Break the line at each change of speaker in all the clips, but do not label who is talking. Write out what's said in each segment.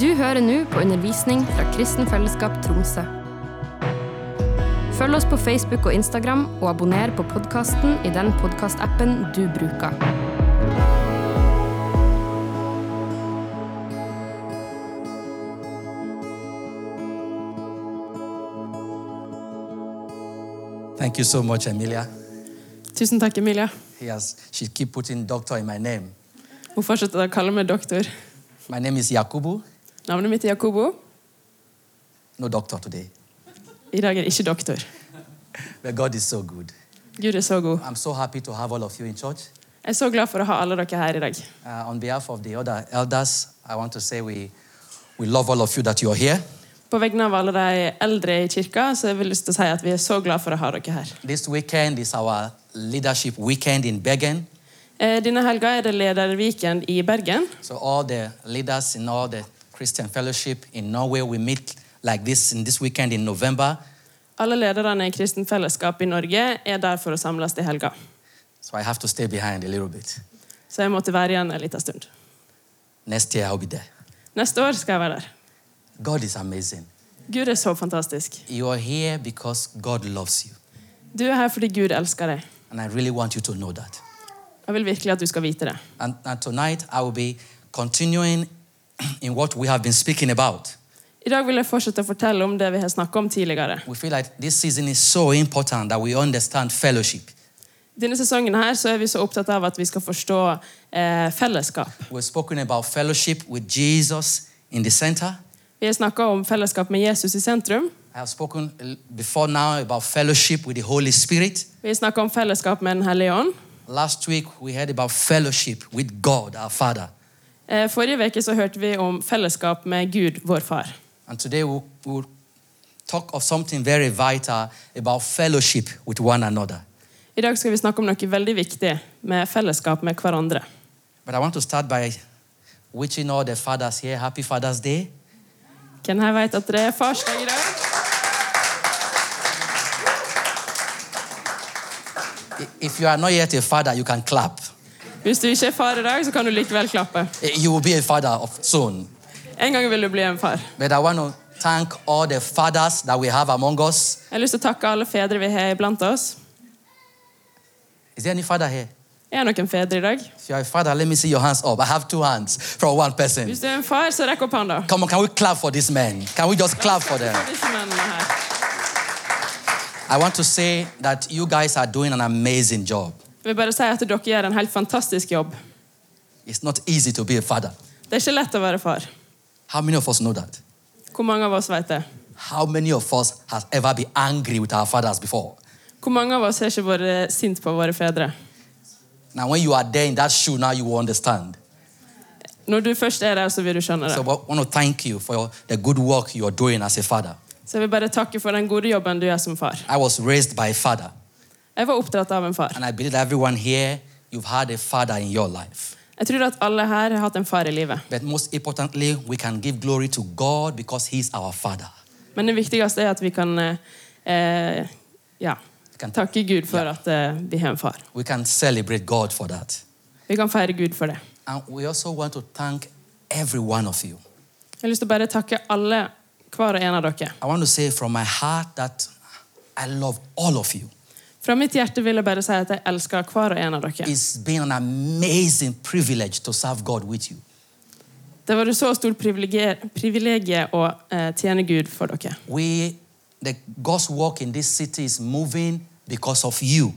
Du hører nå på undervisning fra Kristen Fellesskap Tromsø. Følg oss på Facebook og Instagram, og abonner på podkasten i den podkastappen du bruker.
Thank you so much, Emilia.
Tusen takk, Emilie.
He has, she keep putting doctor in my name.
Hun fortsetter å kalle meg doktor.
My name is Yakubu.
Navnet mitt er Jakobo.
No doctor today.
I dag er jeg ikke doktor.
But God is so good.
Gud er så god.
I'm so happy to have all of you in church.
Jeg er så glad for å ha alle dere her i dag.
Uh, on behalf of the other elders, I want to say we, we love all of you that you're here.
På vegne av alle de eldre i kirka så har vi lyst til å si at vi er så glad for å ha dere her.
This weekend is our leadership weekend in Bergen.
Eh, Denne helga er det lederweekend i Bergen.
So all the leaders in all the Christian fellowship in Norway, we meet like this in this weekend in November.
Alle lederne i Kristen Fellesskap i Norge er der for å samles til helga.
So I have to stay behind a little bit.
Så jeg måtte være igjen en liten stund.
Next year I'll be there.
Neste år skal jeg være der.
God is amazing.
Gud er så fantastisk.
You are here because God loves you.
Du er her fordi Gud elsker deg.
And I really want you to know that.
Jeg vil virkelig at du skal vite det.
And, and tonight I will be continuing in what we have been speaking about.
I dag vil jeg fortsette å fortelle om det vi har snakket om tidligere.
We feel like this season is so important that we understand fellowship.
Denne sesongen her så er vi så opptatt av at vi skal forstå eh, fellesskap.
We've spoken about fellowship with Jesus in the center.
Vi har snakka om fellesskap med Jesus i sentrum.
I have spoken l- before now about fellowship with the Holy Spirit.
Vi har snakka om fellesskap med Den hellige ånd.
Last week we heard about fellowship with God, our Father.
Eh, forrige uke så hørte vi om fellesskap med Gud, vår far.
And today we'll, we'll talk of something very vital about fellowship with one another.
I dag skal vi snakke om noe veldig viktig med fellesskap med hverandre.
But I want to start by wishing all the fathers here happy Father's Day.
Hvem her vet at det er farsdag i dag?
I- If you are not yet a father, you can clap.
Hvis du ikke er far i dag, så kan du likevel klappe.
I- You will be a father of soon.
En gang vil du bli en far.
But I want to thank all the fathers that we have among us.
Jeg har lyst til å takke alle fedre vi har iblant oss.
Is there any father here?
Er det noen fedre i dag?
If you are a father, let me see your hands up. I have two hands from one person.
Hvis du er en far, så rekk opp hånda.
Come on, can we clap for these men? Can we just clap for them?
For disse mennene her.
I want to say that you guys are doing an amazing job.
Jeg vil bare si at dere gjør en helt fantastisk jobb.
It's not easy to be a father.
Det er ikke lett å være far.
How many of us know that?
Hvor mange av oss vet det?
How many of us has ever been angry with our fathers before?
Hvor mange av oss har ikke vært eh, sint på våre fedre?
Now, when you are there in that shoe, now you will understand.
Når du først er der, så vil du skjønne
So,
det.
I want to thank you for your, the good work you are doing as a father.
Så jeg vil bare takke for den gode jobben du gjør som far.
I was raised by a father,
Jeg var oppdratt av en far.
and I believe everyone here, you've had a father in your life.
Jeg tror at alle her har hatt en far i livet.
But most importantly, we can give glory to God because He's our father.
Men det viktigste er at vi kan eh, eh, ja, takke Gud for at eh, vi har en far.
We can celebrate God for that.
Vi kan feire Gud for det.
And we also want to thank every one of you.
Jeg har lyst til å bare takke alle, hver og en av dere.
I want to say from my heart that I love all of you.
Fra mitt hjerte vil jeg bare si at jeg elsker hver og en av dere.
It's been an amazing privilege to serve God with you.
Det var et så stort privilegium privilegium å eh, tjene Gud for dere.
We, the God's work in this city is moving because of you.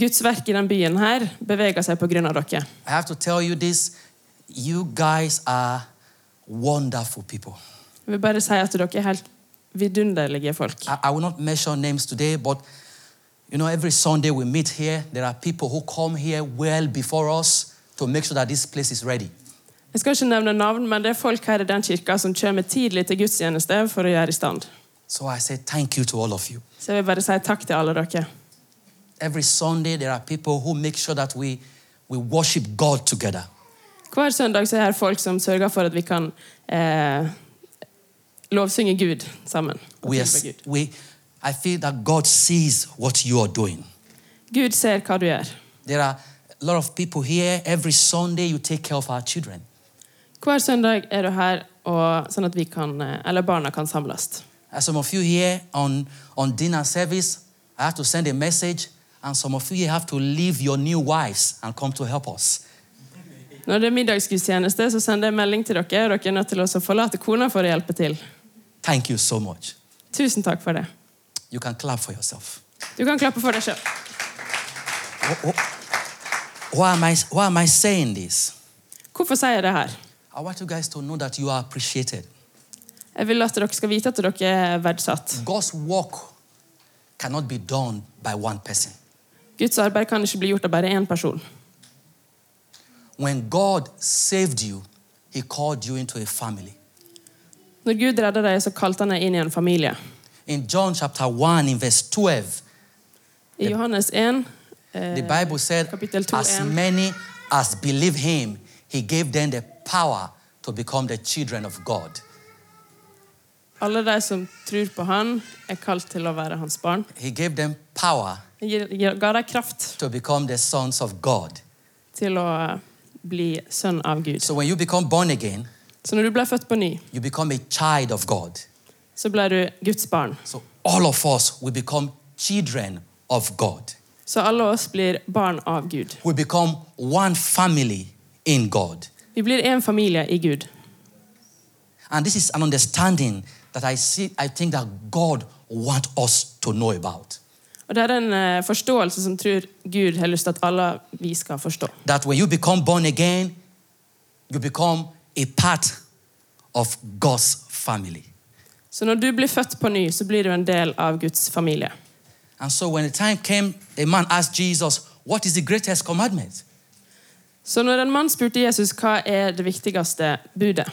Guds verk i den byen her beveger seg på grunn av dere.
I have to tell you this: you guys are wonderful people.
Jeg vil bare si at dere er helt vidunderlige folk.
I, I will not mention names today, but you know, every Sunday we meet here. There are people who come here well before us to make sure that this place is ready.
Jeg skal ikke nevne navn, men det er folk her i den kirka som kommer tidlig til gudstjeneste for å gjøre i stand.
So I say thank you to all of you.
Så jeg vil bare si takk til alle dere.
Every Sunday there are people who make sure that we we worship God together.
Hver søndag så er her folk som sørger for at vi kan eh, lovsynge Gud sammen. og
We, are,
tilbe Gud.
we, I feel that God sees what you are doing.
Gud ser hva du gjør.
There are a lot of people here. Every Sunday, you take care of our children.
Hver søndag er du her og, sånn at vi kan, eh, eller barna kan samles.
As some of you here on, on dinner service, I have to send a message, and some of you have to leave your new wives and come to help us.
Når det er middagsgudstjeneste, så sender jeg melding til dere. og Dere er nødt til å også forlate kona for å hjelpe til.
Thank you so much.
Tusen takk for det.
You can clap for yourself.
Du kan klappe for deg sjøl.
Why am I, why am I saying this?
Hvorfor sier jeg det her?
I want you guys to know that you are appreciated.
Jeg vil at dere skal vite at dere er verdsatt.
God's work cannot be done by one person.
Guds arbeid kan ikke bli gjort av bare én person.
When God saved you, He called you into a family.
Når Gud redda deg, så kalte han deg inn i en familie.
In John chapter 1, in verse 12,
I Johannes 1 eh,
the Bible said,
kapitel 2,
As
1.
many as believe Him, He gave them the power to become the children of God.
Alle de som tror på Han, er kalt til å være Hans barn.
He gave them power
Han gir- gir- ga deg kraft
to become the sons of God.
til å bli sønn av Gud.
So when you become born again,
Så når du ble født på ny,
you become a child of God.
så ble du Guds barn.
So all of us, we become children of God.
Så alle oss blir barn av Gud.
We become one family in God.
Vi blir én familie i Gud.
And this is an understanding that I see, I think that God wants us to know about.
Og det er en eh, forståelse som tror Gud har lyst til at alle vi skal forstå.
That when you become born again, you become a part of God's family.
Så når du blir født på ny, så blir du en del av Guds familie.
And so when the time came, a man asked Jesus, What is the greatest commandment?
Så når en mann spurte Jesus hva er det viktigste budet,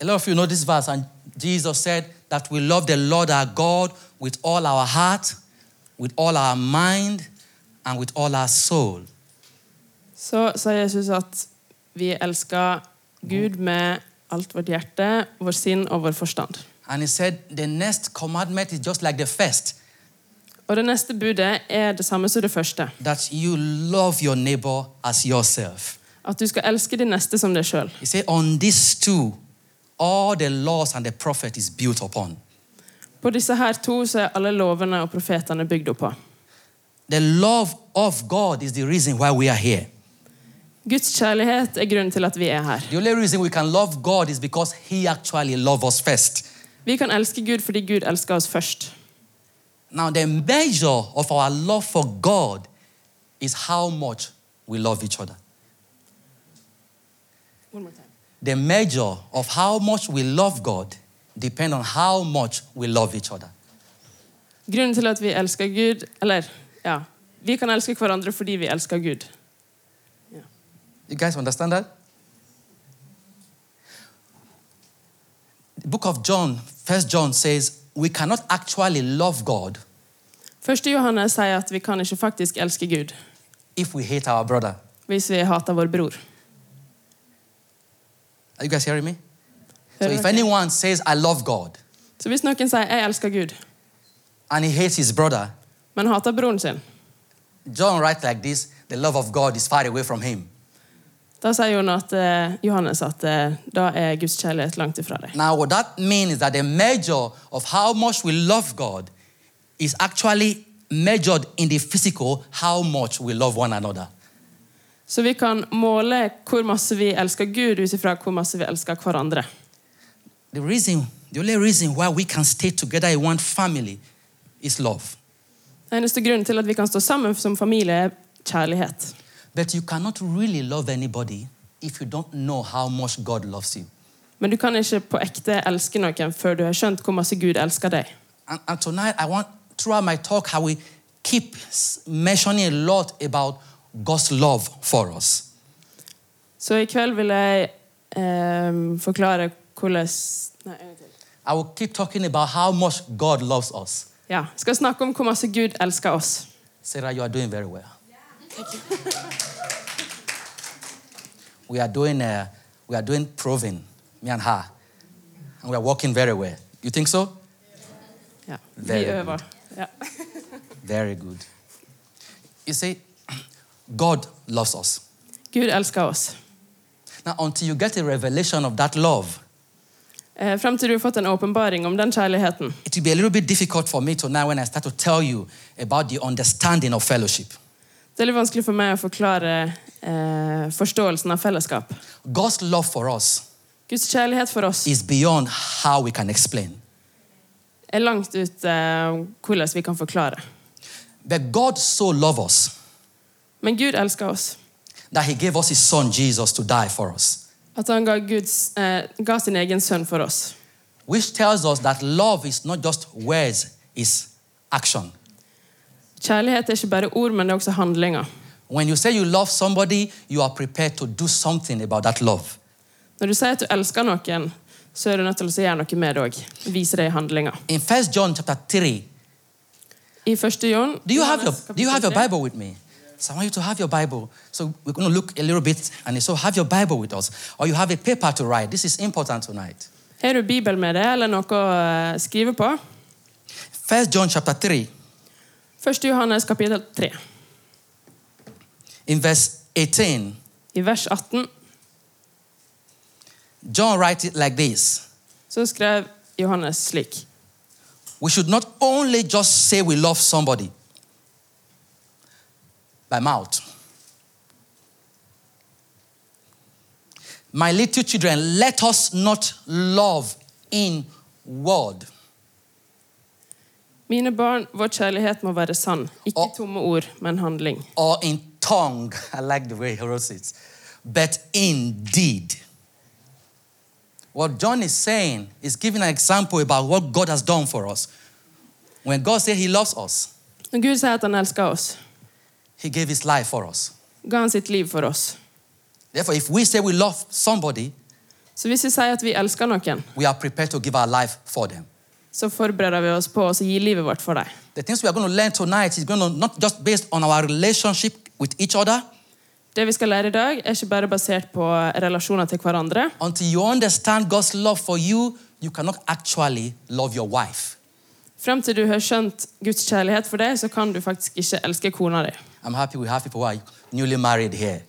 A lot of you know this verse, and Jesus said that we love the Lord our God with all our heart, with all our mind, and with all our soul.
så sa Jesus at vi elsker Gud med alt vårt hjerte, vår sinn og vår forstand.
And he said, The next commandment is just like the first
Og det neste budet er det samme som det første.
that you love your neighbor as yourself.
At du skal elske din neste som deg sjøl.
He said, On these two, all the laws and the prophet is built upon.
På disse her to så er alle lovene og profetene bygd opp på.
The love of God is the reason why we are here.
Guds kjærlighet er grunnen til at vi er her.
The only reason we can love God is because He actually loved us first.
Vi kan elske Gud fordi Gud elsker oss først.
Now, the measure of our love for God is how much we love each other. The measure of how much we love God depends on how much we love each other.
Grunnen til at vi elsker Gud Eller, ja. Vi kan elske hverandre fordi vi elsker Gud.
You guys understand that? The book of John, 1 John says, we cannot actually love God
Første Johannes sier at vi kan ikke faktisk elske Gud
if we hate our brother.
hvis vi hater vår bror.
Are you guys hearing me? So
Hører
if
dere?
anyone says, I love God,
Så hvis noen sier 'jeg elsker Gud',
and he hates his brother,
men hater broren sin,
John writes like this the love of God is far away from him.
da sier Jon at, eh, Johannes at eh, da er Guds kjærlighet langt ifra deg.
Now, what that means is that the measure of how much we love God is actually measured in the physical how much we love one another.
Så vi kan måle hvor masse vi elsker Gud, ut ifra hvor masse vi elsker hverandre.
The reason, the only reason why we can stay together in one family is love.
Eneste grunnen til at vi kan stå sammen som familie, er kjærlighet.
But you cannot really love anybody if you don't know how much God loves you.
Men du kan ikke på ekte elske noen før du har skjønt hvor masse Gud elsker deg.
And, and tonight, I want, throughout my talk, I will keep s- mentioning a lot about God's love for us.
Så i kveld vil jeg eh, forklare hvordan Nei, en gang til.
I will keep talking about how much God loves us.
Ja, skal snakke om hvor masse Gud elsker oss.
Sarah, you are doing very well. we are doing, uh, we are doing proving, me and her, and we are working very well. You think so?
Ja, vi
Very good.
øver. Ja.
Very good. You see, God loves us.
Gud elsker oss.
Now, until you get a revelation of that love,
Eh, Frem til du har fått en åpenbaring om den kjærligheten.
it will be a little bit difficult for me to now when I start to tell you about the understanding of fellowship.
Det er litt vanskelig for meg å forklare eh, forståelsen av fellesskap.
God's love for us
Guds kjærlighet for oss
is beyond how we can explain.
er langt ut eh, hvordan vi kan forklare.
But God so loved us
Men Gud elsker oss.
that He gave us His Son Jesus to die for us,
At han ga, Guds, eh, ga sin egen sønn for oss.
which tells us that love is not just words, it's action.
Kjærlighet er ikke bare ord, men det er også handlinger.
When you say you love somebody, you are prepared to do something about that love.
Når du sier at du elsker noen, så er du nødt til å gjøre noe med det òg. Vise det i handlinger.
In 1 John chapter 3,
I 1. Jon
do you have your,
Johannes,
do you have your
kapittel tre.
Bible with me? So I want you to have your Bible. So we're going to look a little bit, and so have your Bible with us. Or you have a paper to write. This is important tonight.
Har du Bibel med deg, eller noe å eh, skrive på?
1 John chapter 3,
1. Johannes kapittel 3,
in verse 18,
i vers 18,
John writes it like this.
så skrev Johannes slik.
We should not only just say we love somebody by mouth. My little children, let us not love in word
Mine barn, vår kjærlighet må være sann. Ikke
Og-
tomme ord, men handling.
or in tongue. I like the way he wrote it. But in deed. What John is saying is giving an example about what God has done for us. When God said he loves us,
Når Gud sier at han elsker oss,
he gave his life for us.
ga han sitt liv for oss.
Therefore, if we say we love somebody,
Så hvis vi sier at vi elsker noen,
we are prepared to give our life for them.
så forbereder vi oss på å gi livet vårt for dem.
The things we are going to learn tonight is going to not just based on our relationship with each other.
Det vi skal lære i dag, er ikke bare basert på relasjoner til hverandre.
Until you understand God's love for you, you cannot actually love your wife.
Frem til du har skjønt Guds kjærlighet for deg, så kan du faktisk ikke elske kona di.
I'm happy we have people who are newly married here.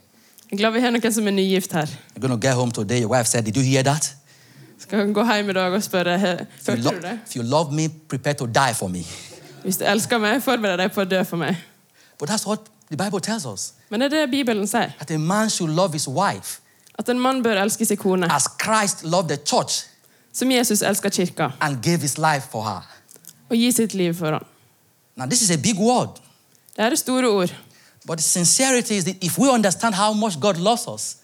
Jeg er glad vi har noen som er nygift her.
You're going to get home today. Your wife said, Did you hear that?
Skal gå hjem i dag og spørre «He-
If you,
Følte
lo-
du det?
if you love me, prepare to die for me.
Hvis du elsker meg, forbered deg på å dø for meg.
But that's what the Bible tells us
Men det er det Bibelen sier.
that a man should love his wife
At en mann bør elske sin kone,
as Christ loved the church
som Jesus elsker kirka,
and gave his life for her.
og gi sitt liv for ham.
Now, this is a big word.
Det her er store ord.
But the sincerity is that if we understand how much God loves us,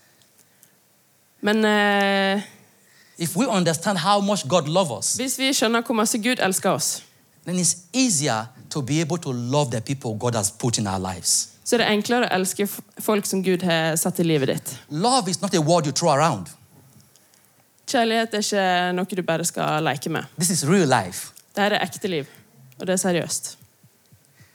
Men eh,
if we understand how much God loves us,
hvis vi skjønner hvor masse Gud elsker oss,
then it's easier to be able to love the people God has put in our lives.
så er det enklere å elske f- folk som Gud har satt i livet ditt.
Love is not a word you throw around.
Kjærlighet er ikke noe du bare skal leke med.
This is real life.
Dette er ekte liv, og det er seriøst.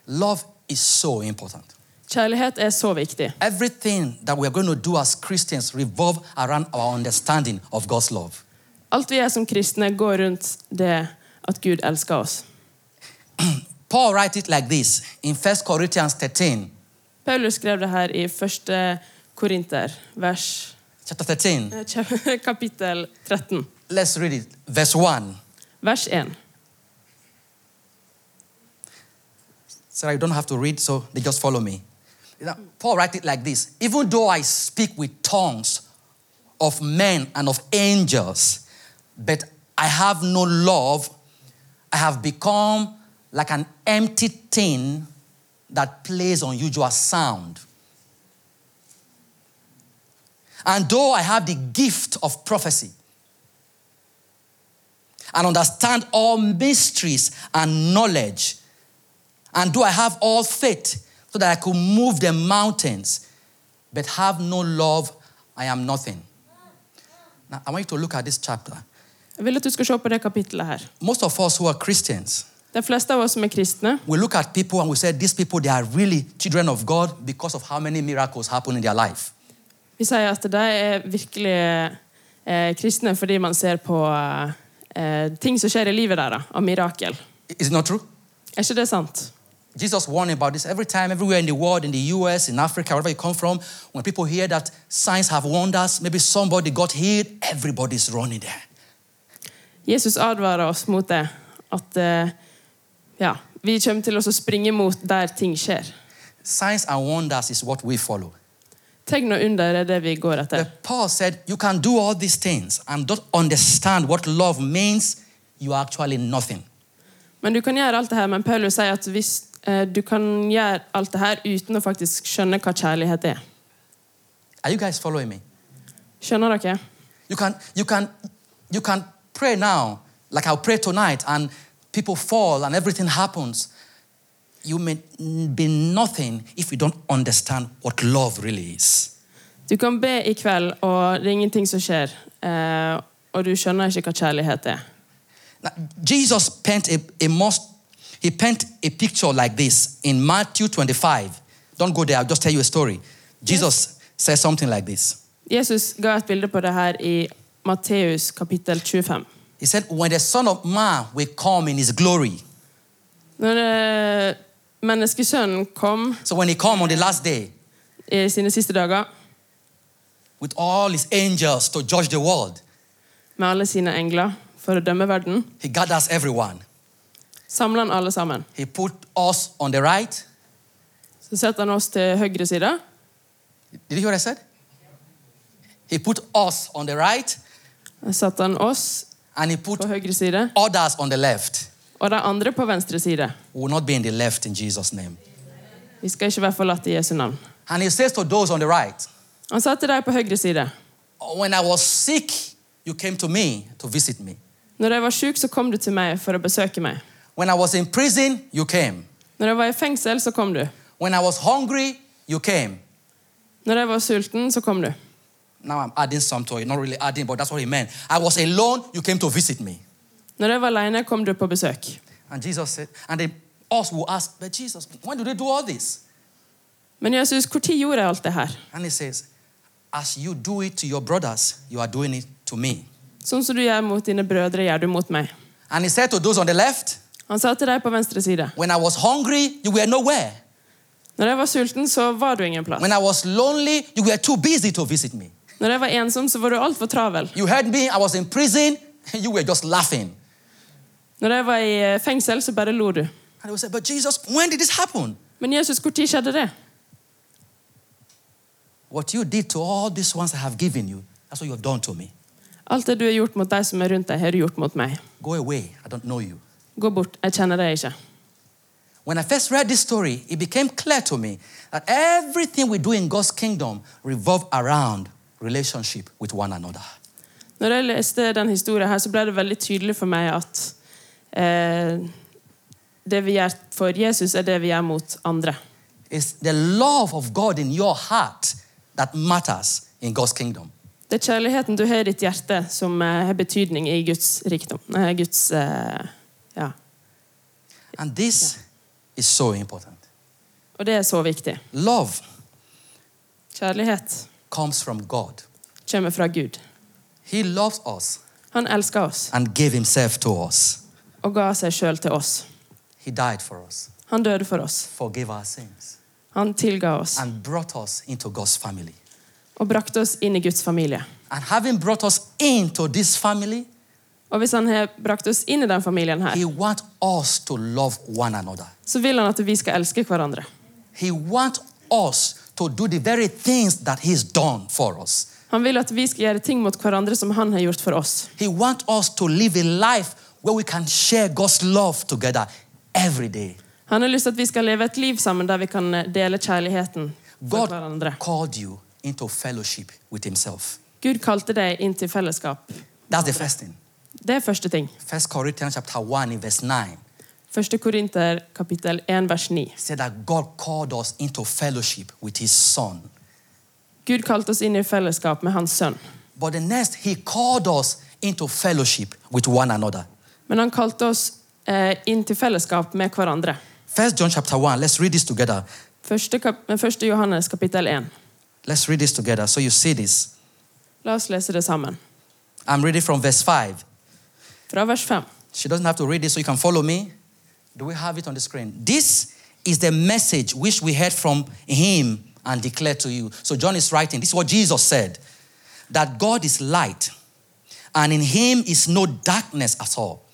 Love is so important.
Kjærlighet er så viktig.
Everything that we're going to do as Christians revolve around our understanding of God's love.
Alt vi er som kristne, går rundt det at Gud elsker oss.
Paul writes it like this in 1 Corinthians 13,
Paulus skrev det her i første Korinter, vers
chapter 13.
eh, kap- kapittel 13,
Let's read it, verse 1.
vers 1.
Sarah, you don't have to read, so they just follow me. You know, Paul writes it like this Even though I speak with tongues of men and of angels, but I have no love, I have become like an empty tin that plays unusual sound. And though I have the gift of prophecy and understand all mysteries and knowledge, and do I have all faith so that I could move the mountains, but have no love, I am nothing. Now, I want you to look at this chapter.
Jeg vil at du skal se på det kapittelet her.
Most of us who are Christians,
De fleste av oss som er kristne,
we look at people and we say, These people, they are really children of God because of how many miracles happen in their life.
vi sier at de er virkelig eh, kristne fordi man ser på eh, ting som skjer i livet deres, av mirakel.
Is it not true?
Er ikke det sant?
Jesus warned about this every time, everywhere in the world, in the US, in Africa, wherever you come from. When people hear that signs have wonders, maybe somebody got healed, everybody's running there.
Jesus advarer oss mot det. At eh, ja, vi kommer til å springe mot der ting skjer.
Signs and wonders is what we follow.
Tegn og under er det vi går etter.
The Paul said, You can do all these things and don't understand what love means, you are actually nothing.
Men du kan gjøre alt det her, men Paulus sier at hvis eh, du kan gjøre alt det her uten å faktisk skjønne hva kjærlighet er.
Are you guys following me?
Skjønner dere?
You can, you can, you can pray now, like I'll pray tonight, and people fall and everything happens. You may n- be nothing if you don't understand what love really is.
Du kan be i kveld, og det er ingenting som skjer. Eh, og du skjønner ikke hva kjærlighet er.
Now, Jesus paint a, a most, he paint a picture like this in Matthew 25. Don't go there, I'll just tell you a story. Jesus says something like this.
Jesus ga et bilde på det her i Matteus kapittel 25.
He said, When the Son of Man will come in his glory.
Når eh, menneskesønnen kom
So when he come on the last day
i sine siste dager
with all his angels to judge the world,
med alle sine engler for å dømme verden,
he gathers everyone.
samler han alle sammen.
He put us on the right.
Så setter han oss til høyre side.
Did you hear what I said? He put us on the right
Setter han oss
and he put
på høyre side,
others on the left.
og de andre på venstre side.
We will not be in the left in Jesus' name.
Vi skal ikke være forlatt i Jesu navn.
And he says to those on the right,
Han sa til dem på høyre side.
When I was sick, you came to me to visit me.
Når jeg var syk, så kom du til meg for å besøke meg.
When I was in prison, you came.
Når jeg var i fengsel, så kom du.
When I was hungry, you came.
Når jeg var sulten, så kom du.
Now I'm adding some to it, not really adding, but that's what he meant. I was alone, you came to visit me.
Når jeg var alene, kom du på besøk.
And Jesus said, and they us will ask, but Jesus, when do they do all this?
Men Jesus, når gjorde jeg alt det her?
And he says, as you do it to your brothers, you are doing it to me.
Sånn som du gjør mot dine brødre, gjør du mot meg.
And he said to those on the left,
Han sa til deg på venstre side.
when I was hungry, you were nowhere.
Når jeg var sulten, så var du ingen plass.
When I was lonely, you were too busy to visit me.
Når jeg var ensom, så var du altfor travel.
You heard me, I was in prison, you were just laughing.
Når jeg var i eh, fengsel, så bare lo du.
And they will say, but Jesus, when did this happen?
Men Jesus, når skjedde det?
What you did to all these ones I have given you, that's what you have done to me.
Alt det du har gjort mot de som er rundt deg, har du gjort mot meg.
Go away, I don't know you.
Gå bort, jeg kjenner deg ikke.
When I first read this story, it became clear to me that everything we do in God's kingdom revolve around relationship with one another.
Når jeg leste den historien her, så ble det veldig tydelig for meg at eh, det vi gjør for Jesus, er det vi gjør mot andre.
It's the love of God in your heart that matters in God's kingdom.
Det er kjærligheten du har i ditt hjerte, som eh, har betydning i Guds rikdom. Nei, Guds eh, Ja.
And this is so important.
Og det er så viktig.
Love
Kjærlighet
comes from God.
kommer fra Gud.
He loves us
Han elsker oss
and gave himself to us.
og ga seg sjøl til oss.
He died for us,
Han døde for oss.
forgave our sins,
Han tilga oss
and brought us into God's family.
og brakte oss inn i Guds familie.
And having brought us into this family,
Og hvis han har brakt oss inn i den familien her,
He wants us to love one another.
så vil han at vi skal elske hverandre.
He wants us to do the very things that He's done for us.
Han vil at vi skal gjøre ting mot hverandre som han har gjort for oss.
He wants us to live a life where we can share God's love together every day.
Han har lyst til at vi skal leve et liv sammen der vi kan eh, dele kjærligheten for
God
hverandre.
called you into fellowship with Himself.
Gud kalte deg inn til fellesskap.
That's the first thing.
Det er første ting.
First Corinthians chapter 1 in verse 9
Første Korinter kapittel 1 vers 9.
said that God called us into fellowship with His Son.
Gud kalte oss inn i fellesskap med hans sønn.
But the next, He called us into fellowship with one another.
Men han kalte oss eh, inn til fellesskap med hverandre.
First John chapter 1, let's read this together.
Første, kap eh, første Johannes kapittel 1.
Let's read this together so you see this.
La oss lese det sammen.
I'm reading from verse 5.
Fra vers 5.
She doesn't have to read it so you can follow me. Do we have it on the screen? This is the message which we heard from him and declared to you. So John is writing, this is what Jesus said that God is light, and in him is no darkness at all.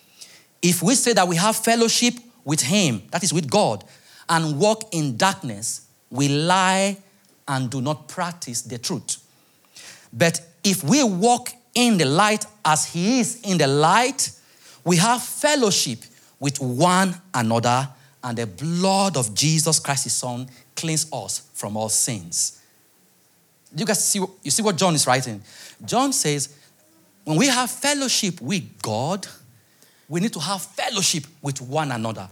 If we say that we have fellowship with him, that is with God, and walk in darkness, we lie and do not practice the truth. But if we walk in the light as he is in the light, we have fellowship with one another, and the blood of Jesus Christ, his son, cleans us from all sins. You guys see, you see what John is writing? John says, when we have fellowship with God, we need to have fellowship with one another.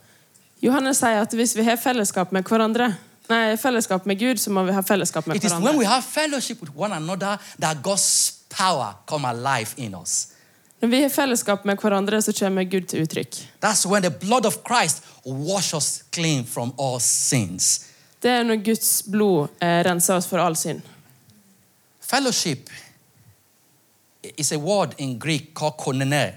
Johannes sier at hvis vi har fellesskap med hverandre, nei, fellesskap med Gud, så må vi ha fellesskap med
It is when
hverandre.
we have fellowship with one another that God's power come alive in us.
Når vi har fellesskap med hverandre, så kommer Gud til uttrykk.
That's when the blood of Christ washes us clean from all sins.
Det er når Guds blod eh, renser oss for all synd.
Fellowship is a word in Greek called konene.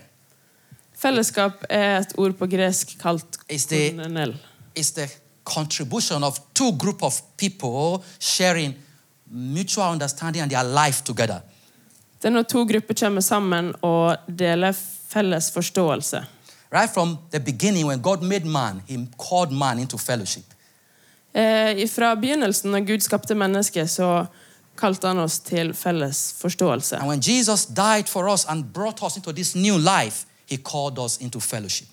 Fellesskap er et ord på gresk kalt
Is the-
koronel.
It's the contribution of two group of people sharing mutual understanding and their life together.
Det er når to grupper kommer sammen og deler felles forståelse.
Right from the beginning, when God made man, He called man into fellowship.
Eh, fra begynnelsen, når Gud skapte mennesket, så kalte han oss til felles forståelse.
And when Jesus died for us and brought us into this new life, He called us into fellowship.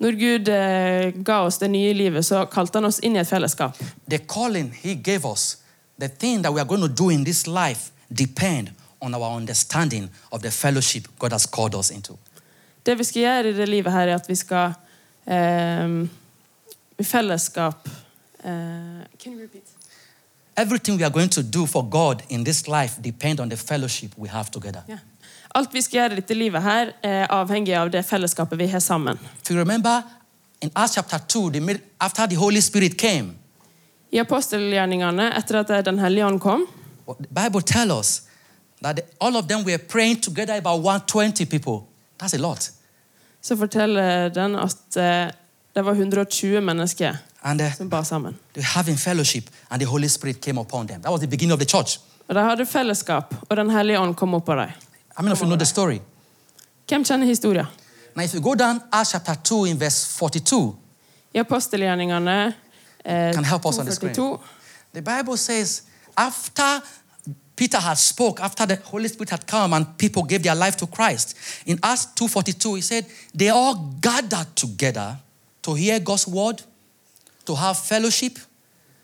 Når Gud eh, ga oss det nye livet, så kalte han oss inn i et fellesskap.
the calling he gave us the thing that we are going to do in this life depend on our understanding of the fellowship god has called us into
Det vi skal gjøre i det livet her, er at vi skal eh, i fellesskap eh, Can you repeat?
everything we are going to do for god in this life depend on the fellowship we have together
Ja. Alt vi skal gjøre i dette livet her, er avhengig av det fellesskapet vi har sammen.
if you remember in acts chapter 2 the mid- after the holy spirit came
I apostelgjerningene, etter at Den hellige ånd kom,
what the bible tells us that the- all of them were praying together about 120 people that's a lot
så forteller den at eh, det var 120 mennesker
and uh,
som ba sammen.
they were having fellowship and the holy spirit came upon them that was the beginning of the church
Og De hadde fellesskap, og Den hellige ånd kom opp på dem.
how many of you know the story
Hvem kjenner historien?
Now, if you go down Acts chapter 2 in verse 42,
I apostelgjerningene eh,
Can help us on the screen.
242,
the Bible says, after Peter had spoke, after the Holy Spirit had come and people gave their life to Christ, in Acts 2.42, he said, they all gathered together to hear God's word, to have fellowship,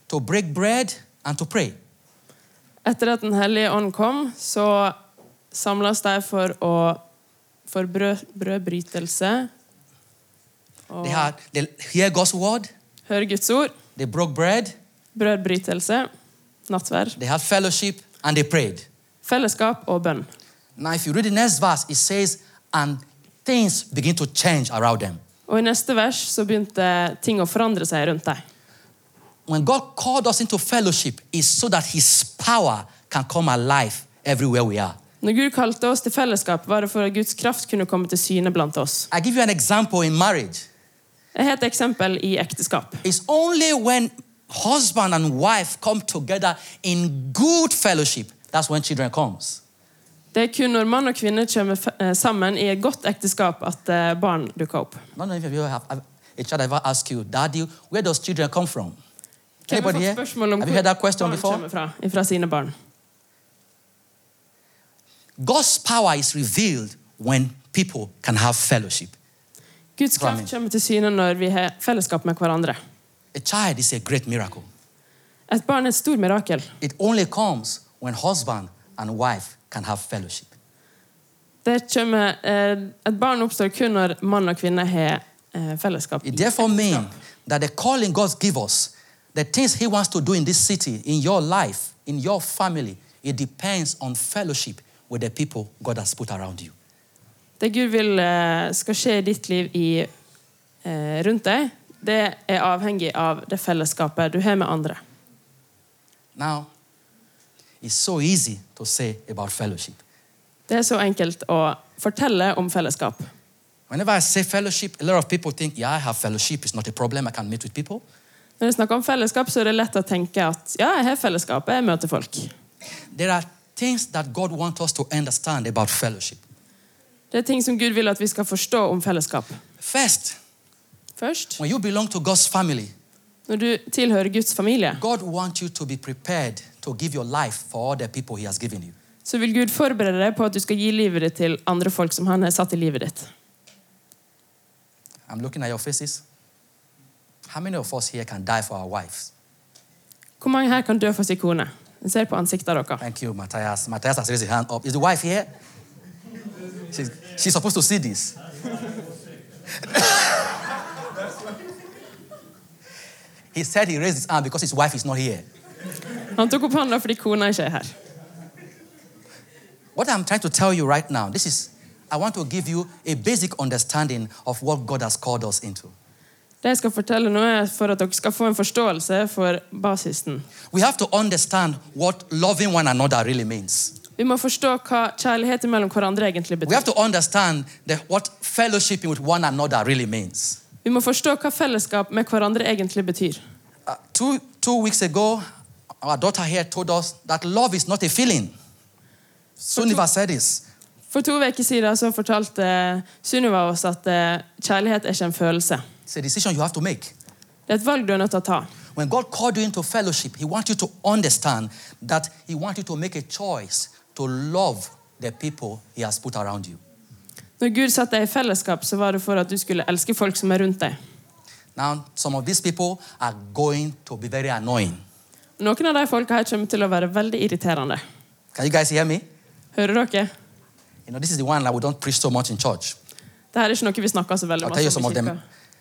to break bread, and to pray.
Etter at Den hellige ånd kom, så samles de for å for brød, brødbrytelse og
They had they hear God's word,
høre Guds ord.
they broke bread,
Brødbrytelse, nattverd,
they had fellowship, and they prayed.
fellesskap og bønn.
Now, if you read the next verse, it says, and things begin to change around them.
Og I neste vers så begynte ting å forandre seg rundt dem.
when God called us into fellowship, is so that His power can come alive everywhere we are.
Når Gud kalte oss til fellesskap, var det for at Guds kraft kunne komme til syne blant oss.
I give you an example in marriage.
Jeg har et eksempel i ekteskap.
It's only when husband and wife come together in good fellowship that's when children comes.
Det er kun når mann og kvinne kommer fe- eh, sammen i et godt ekteskap, at eh, barn dukker opp.
I don't know if you ever have, have a child ever ask you, Daddy, where does children come from?
Hvem har
Anybody
fått
here?
spørsmål
Have
om
you
hvor
heard that question
barn
before?
kommer fra, fra sine barn?
God's power is revealed when people can have fellowship.
Guds
Hva mener
kraft kommer til syne når vi har fellesskap med hverandre.
A child is a great miracle.
Et barn er et stort mirakel.
It only comes when husband and wife can have fellowship.
Det kommer, eh, et barn oppstår kun når mann og kvinne har eh, fellesskap. i
It therefore means
ekteskap.
that the calling God gives us, the things He wants to do in this city, in your life, in your family, it depends on fellowship with the people God has put around you.
Det Gud vil eh, skal skje i ditt liv i, eh, rundt deg, det er avhengig av det fellesskapet du har med andre.
Now, it's so easy to say about fellowship.
Det er så enkelt å fortelle om fellesskap.
Whenever I say fellowship, a lot of people think, yeah, I have fellowship, it's not a problem, I can meet with people.
Når vi snakker om fellesskap, så er det lett å tenke at ja, jeg har fellesskap, jeg møter folk.
There are things that God wants us to understand about fellowship.
Det er ting som Gud vil at vi skal forstå om fellesskap.
First,
Først,
when you belong to God's family,
når du tilhører Guds familie,
God wants you to be prepared to give your life for other people He has given you.
så vil Gud forberede deg på at du skal gi livet ditt til andre folk som han har satt i livet ditt.
I'm looking at your faces. How many of us here can die for our wives?
Hvor mange her kan dø for sin kone? Jeg ser på ansiktene deres.
Thank you, Matthias. Matthias has raised his hand up. Is the wife here? She's, she's supposed to see this. he said he raised his hand because his wife is not here.
Han tok opp hånda fordi kona ikke er her.
What I'm trying to tell you right now, this is, I want to give you a basic understanding of what God has called us into.
Det jeg skal fortelle nå, er for at dere skal få en forståelse for basisen.
We have to understand what loving one another really means.
Vi må forstå hva kjærlighet mellom hverandre egentlig
We
betyr.
have to understand the, what fellowshipping with one another really means.
Vi må forstå hva fellesskap med hverandre egentlig betyr.
Uh, two, two weeks ago, our daughter here told us that love is not a feeling. Suniva said this.
For to uker siden så fortalte Sunniva oss at eh, kjærlighet er ikke en følelse.
It's a decision you have to make.
Det er et valg du er nødt til å ta.
When God called you into fellowship, He wants you to understand that He wants you to make a choice to love the people He has put around you.
Når Gud satte deg i fellesskap, så var det for at du skulle elske folk som er rundt deg.
Now, some of these people are going to be very annoying.
Noen av de folka her kommer til å være veldig irriterende.
Can you guys hear me?
Hører dere?
You know, this is the one that we don't preach so much in church.
Dette er ikke noe vi snakker så veldig
I'll tell you
masse
some
om
of
i kirka.
them.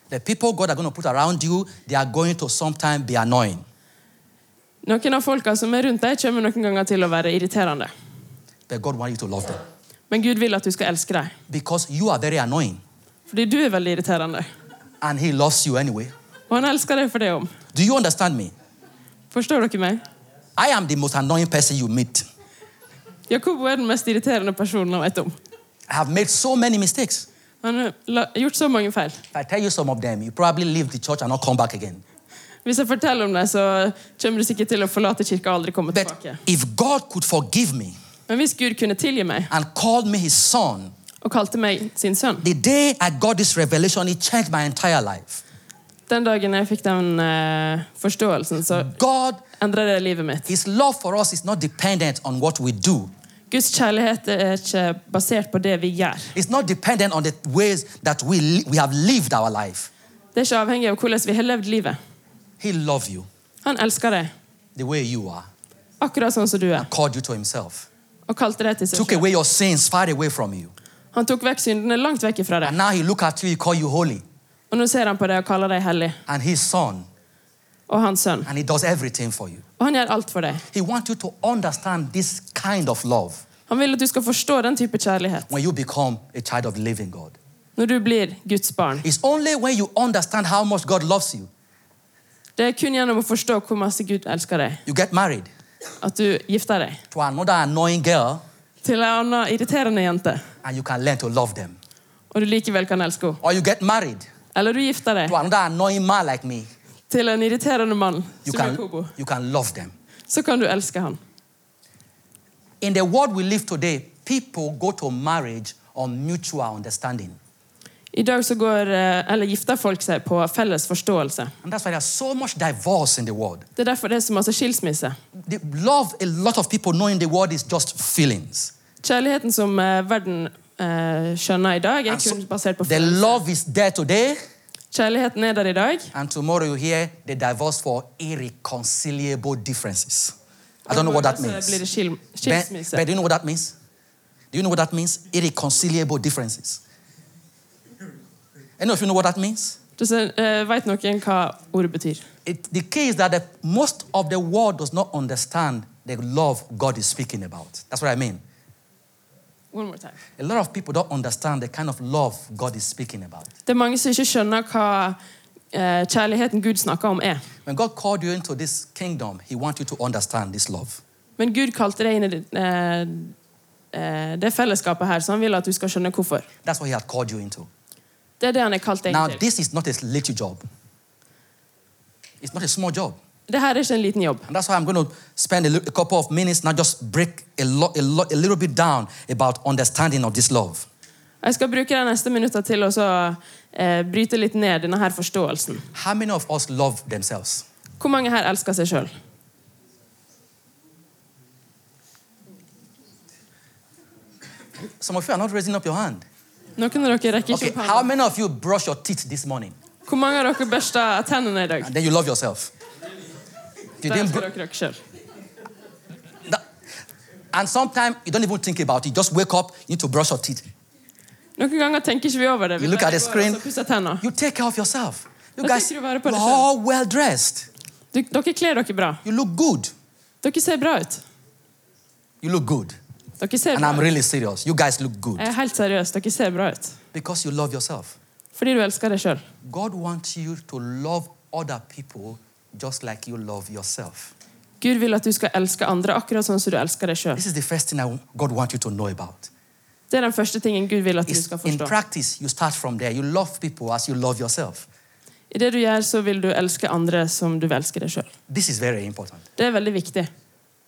The people God are going to put around you, they are going to sometimes be annoying.
Noen av folka som er rundt deg, kommer noen ganger til å være irriterende.
But God wants you to love them.
Men Gud vil at du skal elske deg.
Because you are very annoying.
Fordi du er veldig irriterende.
And He loves you anyway.
Og han elsker deg for det om.
Do you understand me?
Forstår dere meg?
I am the most annoying person you meet.
Jakobo er den mest irriterende personen jeg vet om.
I have made so many mistakes.
Han har la- gjort så mange feil.
If I tell you some of them, you probably leave the church and not come back again.
Hvis jeg forteller om det, så kommer du sikkert til å forlate kirka og aldri komme
But
tilbake.
if God could forgive me
Men hvis Gud kunne tilgi meg
and called me His son,
og kalte meg sin sønn
the day I got this revelation, it changed my entire life.
Den dagen jeg fikk den eh, forståelsen, så
God,
endra det livet mitt.
His love for us is not dependent on what we do.
Guds kjærlighet er ikke basert på det vi gjør.
It's not dependent on the ways that we, li- we have lived our life.
Det er ikke avhengig av hvordan vi har levd livet.
He loves you
Han elsker deg
the way you are,
akkurat sånn som du er,
called you to Himself.
og kalte deg til seg
took
selv.
away your sins far away from you.
Han tok vekk syndene langt vekk ifra
And
deg.
now he look at you, he call you holy
Og nå ser han på deg og kaller deg hellig.
and his son.
Og hans sønn.
And he does everything for you.
Og han gjør alt for deg.
He wants you to understand this kind of love
Han vil at du skal forstå den type kjærlighet
when you become a child of the living God.
når du blir Guds barn.
It's only when you understand how much God loves you,
Det er kun gjennom å forstå hvor masse Gud elsker deg,
you get married
at du gifter deg
to another annoying girl
til ei anna irriterende jente,
and you can learn to love them.
og du likevel kan elske henne.
Or you get married
Eller du gifter deg
to another annoying man like me,
til en irriterende mann
you
som
can,
Jakobo.
you can love them.
Så kan du elske han.
In the world we live today, people go to marriage on mutual understanding.
I dag så går, eh, eller gifter folk seg på felles forståelse.
And that's why there's so much divorce in the world.
Det er derfor det er så masse skilsmisse.
the love a lot of people know in the world is just feelings.
Kjærligheten som eh, verden eh, skjønner i dag, er
And so
kun basert på
the
følelser.
love is there today,
Kjærligheten er der i dag,
and tomorrow you hear the divorce for irreconcilable differences. I don't know what that
Så blir det
means.
skil
But,
skilsmisse.
but do you know what that means? Do you know what that means? Irreconcilable differences. Any of you know what that means?
Du ser, eh, vet noen hva ordet betyr?
It, the key is that the, most of the world does not understand the love God is speaking about. That's what I mean.
One more time.
A lot of people don't understand the kind of love God is speaking about.
Det er mange som ikke skjønner hva eh, kjærligheten Gud snakker om, er.
When God called you into this kingdom, He wants you to understand this love.
Men Gud kalte deg inn i det, eh, eh, det fellesskapet her, så han vil at du skal skjønne hvorfor.
That's what He had called you into.
Det er det han har kalt deg
Now,
inn til.
this is not a little job. It's not a small job.
Det her er ikke en liten jobb.
And that's why I'm going to spend a, li- a couple of minutes now just break a, lo- a, lo- a little bit down about understanding of this love.
Jeg skal bruke de neste minuttene til å så, eh, bryte litt ned denne her forståelsen.
How many of us love themselves?
Hvor mange her elsker seg sjøl?
Some of you are not raising up your hand.
Noen av dere rekker
Okay,
ikke opp
how
hånden.
many of you brush your teeth this morning?
Hvor mange av dere børster tennene i dag?
And then you love yourself. If you
Der
didn't
skal
br-
dere dere selv.
that- and sometimes you don't even think about it. Just wake up, you need to brush your teeth.
Noen ganger tenker ikke vi over det. Vi
You look at
bare
the
går
screen.
og så pusser tennene.
You take care of yourself. You
That's
guys,
what you
you're
were upon yourself.
all well dressed.
Du- Dere kler dere bra.
You look good.
Dere ser bra ut.
You look good.
Dere ser
And I'm
bra ut.
really serious. You guys look good
Jeg er helt seriøs. Dere ser bra ut.
because you love yourself.
Fordi du elsker deg sjøl.
God wants you to love other people just like you love yourself.
Gud vil at du skal elske andre akkurat sånn som du elsker deg sjøl.
This is the first thing I, God wants you to know about.
Det er den første tingen Gud vil at du
It's
skal
in
forstå.
practice, you start from there. You love people as you love yourself.
I det du gjør, så vil du elske andre som du vil elske deg sjøl.
This is very important.
Det er veldig viktig.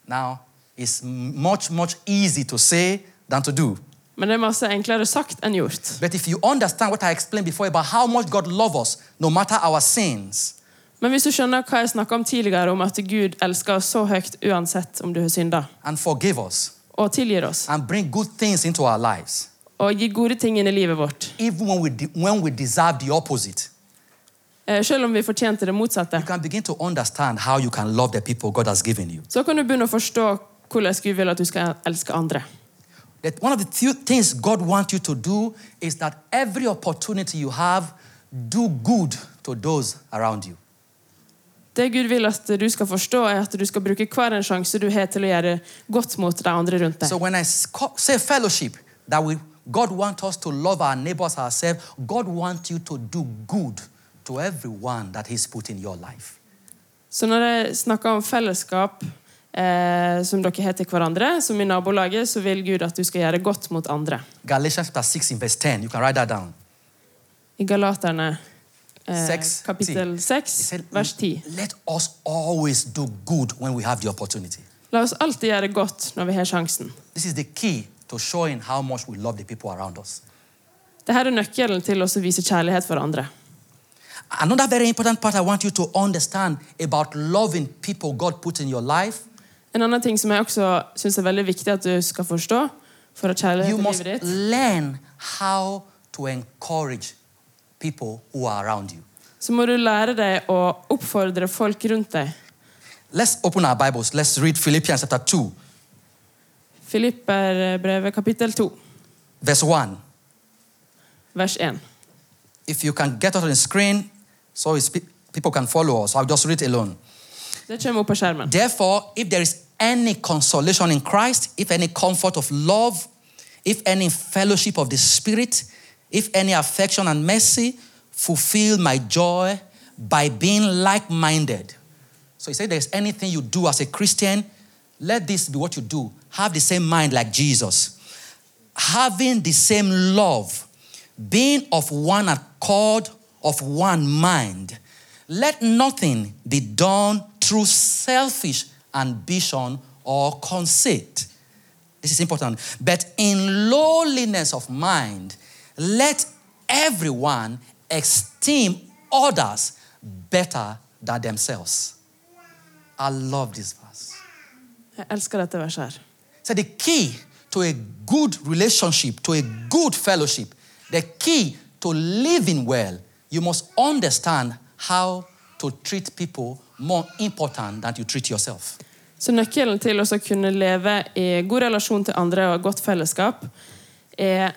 Now, it's m- much, much easy to say than to do.
Men det er masse enklere sagt enn gjort.
But if you understand what I explained before about how much God loves us, no matter our sins,
Men hvis du skjønner hva jeg snakka om tidligere, om at Gud elsker oss så høyt uansett om du har synda,
and forgive us,
og tilgir oss,
and bring good things into our lives,
og gir gode ting inn i livet vårt,
even when we, de- when we deserve the opposite,
eh, selv om vi fortjente det motsatte,
you can begin to understand how you can love the people God has given you.
så kan du begynne å forstå hvordan Gud vil at du skal elske andre.
That one of the few things God wants you to do is that every opportunity you have, do good to those around you.
Det Gud vil at du skal forstå, er at du skal bruke hver en sjanse du har til å gjøre godt mot de andre rundt
So
deg.
when I s- co- say fellowship, that we God wants us to love our neighbors ourselves, God wants you to do good to everyone that He's put in your life.
Så når jeg snakker om fellesskap eh, som dere har til hverandre, som i nabolaget, så vil Gud at du skal gjøre godt mot andre.
Galatians chapter 6 in verse 10. You can write that down.
I Galaterne eh,
Seks,
kapittel
It
6,
said,
vers 10.
Let us always do good when we have the opportunity.
La oss alltid gjøre godt når vi har sjansen.
This is the key to showing how much we love the people around us.
Dette er nøkkelen til oss å vise kjærlighet for andre.
Another very important part I want you to understand about loving people God put in your life,
En annen ting som jeg også synes er veldig viktig at du skal forstå, for å kjærlighet
you
i
must
livet ditt,
learn how to encourage people who are around you.
så må du lære deg å oppfordre folk rundt deg.
Let's open our Bibles. Let's read Philippians chapter 2,
Filipperbrevet kapittel 2,
verse 1.
vers 1.
If you can get out on the screen so it's pe- people can follow us, I'll just read alone.
Det kommer opp på skjermen.
Therefore, if there is any consolation in Christ, if any comfort of love, if any fellowship of the Spirit, if any affection and mercy, fulfill my joy by being like minded. So he said, There's anything you do as a Christian, let this be what you do. Have the same mind like Jesus, having the same love, being of one accord, of one mind. Let nothing be done through selfish ambition or conceit. This is important. But in lowliness of mind, let everyone esteem others better than themselves. I love this verse.
Jeg elsker dette verset her.
So the key to a good relationship, to a good fellowship, the key to living well, you must understand how to treat people more important than you treat yourself.
Så nøkkelen til oss å kunne leve i god relasjon til andre og godt fellesskap er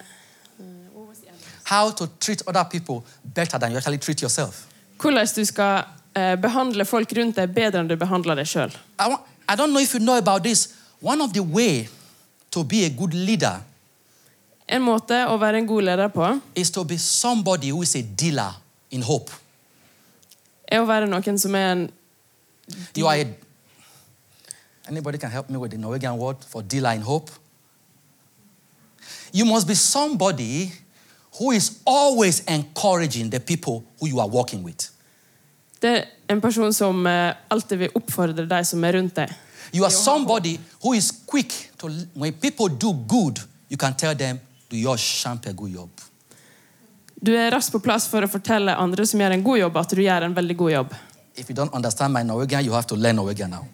How to treat other people better than you actually treat yourself.
hvordan du skal eh, behandle folk rundt deg bedre enn du behandler deg sjøl.
I, want, I don't know if you know about this. One of the way to be a good leader
En måte å være en god leder på
is to be somebody who is a dealer in hope.
er å være noen som er en
You are a, anybody can help me with the Norwegian word for dealer in hope. You must be somebody who is always encouraging the people who you are working with.
Det er en person som eh, alltid vil oppfordre de som er rundt deg.
You are somebody who is quick to, when people do good, you can tell them, do your shampe good job.
Du er raskt på plass for å fortelle andre som gjør en god jobb, at du gjør en veldig god jobb.
If you don't understand my Norwegian, you have to learn Norwegian now.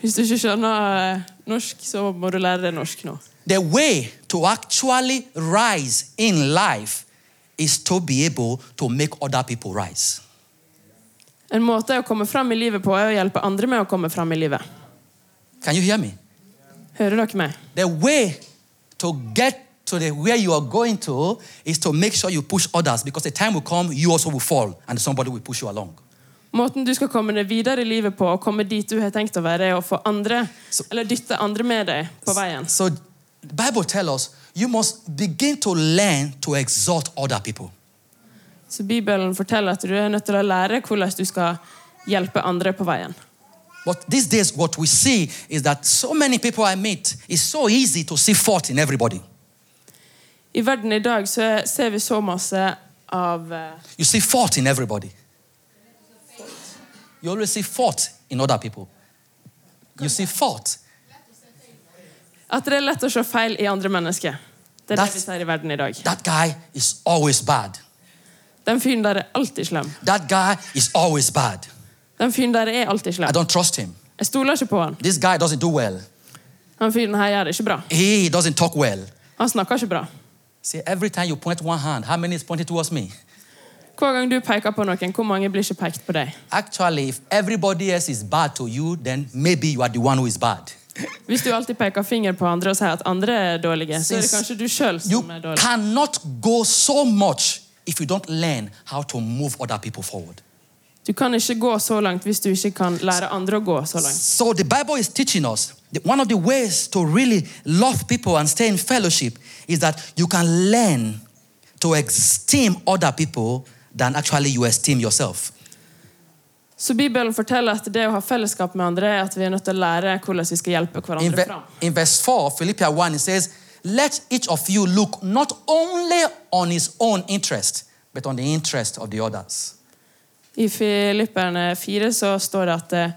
Hvis du ikke skjønner eh, norsk, så må du lære deg norsk nå.
The way to actually rise in life is to be able to make other people rise.
En måte å komme fram i livet på er å hjelpe andre med å komme fram i livet.
Can you hear me?
Hører dere meg?
The way to get to the where you are going to is to make sure you push others because the time will come you also will fall and somebody will push you along.
Måten du skal komme deg videre i livet på, og komme dit du har tenkt å være, er å få andre,
Så-
eller dytte andre med deg på veien.
So the Bible tells us you must begin to learn to exhort other people.
Så Bibelen forteller at du er nødt til å lære hvordan du skal hjelpe andre på veien.
But these days, what we see is that so many people I meet, it's so easy to see fault in everybody.
I verden i dag så er- ser vi så masse av eh,
You see fault in everybody. You always see fault in other people. You see fault.
at det er lett å se feil i andre mennesker. Det er det
That's-
vi ser i verden i dag.
That guy is always bad.
Den fyren der er alltid slem.
That guy is always bad.
Den fyren der er alltid
I
slem.
don't trust him.
Jeg stoler ikke på han.
This guy doesn't do well.
Han fyren her gjør det ikke bra.
He doesn't talk well.
Han snakker ikke bra.
See, every time you point one hand, how many is pointing towards me?
Hver gang du peker på noen, hvor mange blir ikke pekt på deg?
Actually, if everybody else is bad to you, then maybe you are the one who is bad.
Hvis du alltid peker finger på andre og sier at andre er dårlige, så er det kanskje du sjøl
You
som er dårlig.
cannot go so much if you don't learn how to move other people forward.
Du kan ikke gå så langt hvis du ikke kan lære andre å gå så langt.
So the Bible is teaching us that one of the ways to really love people and stay in fellowship is that you can learn to esteem other people than actually you esteem yourself.
Så Bibelen forteller at det å ha fellesskap med andre er at vi er nødt til å lære hvordan vi skal hjelpe
In,
hverandre
ve-
fram.
in verse 4 of Philippians 1, it says, Let each of you look not only on his own interest, but on the interest of the others.
I Filipperne 4 så står det at eh,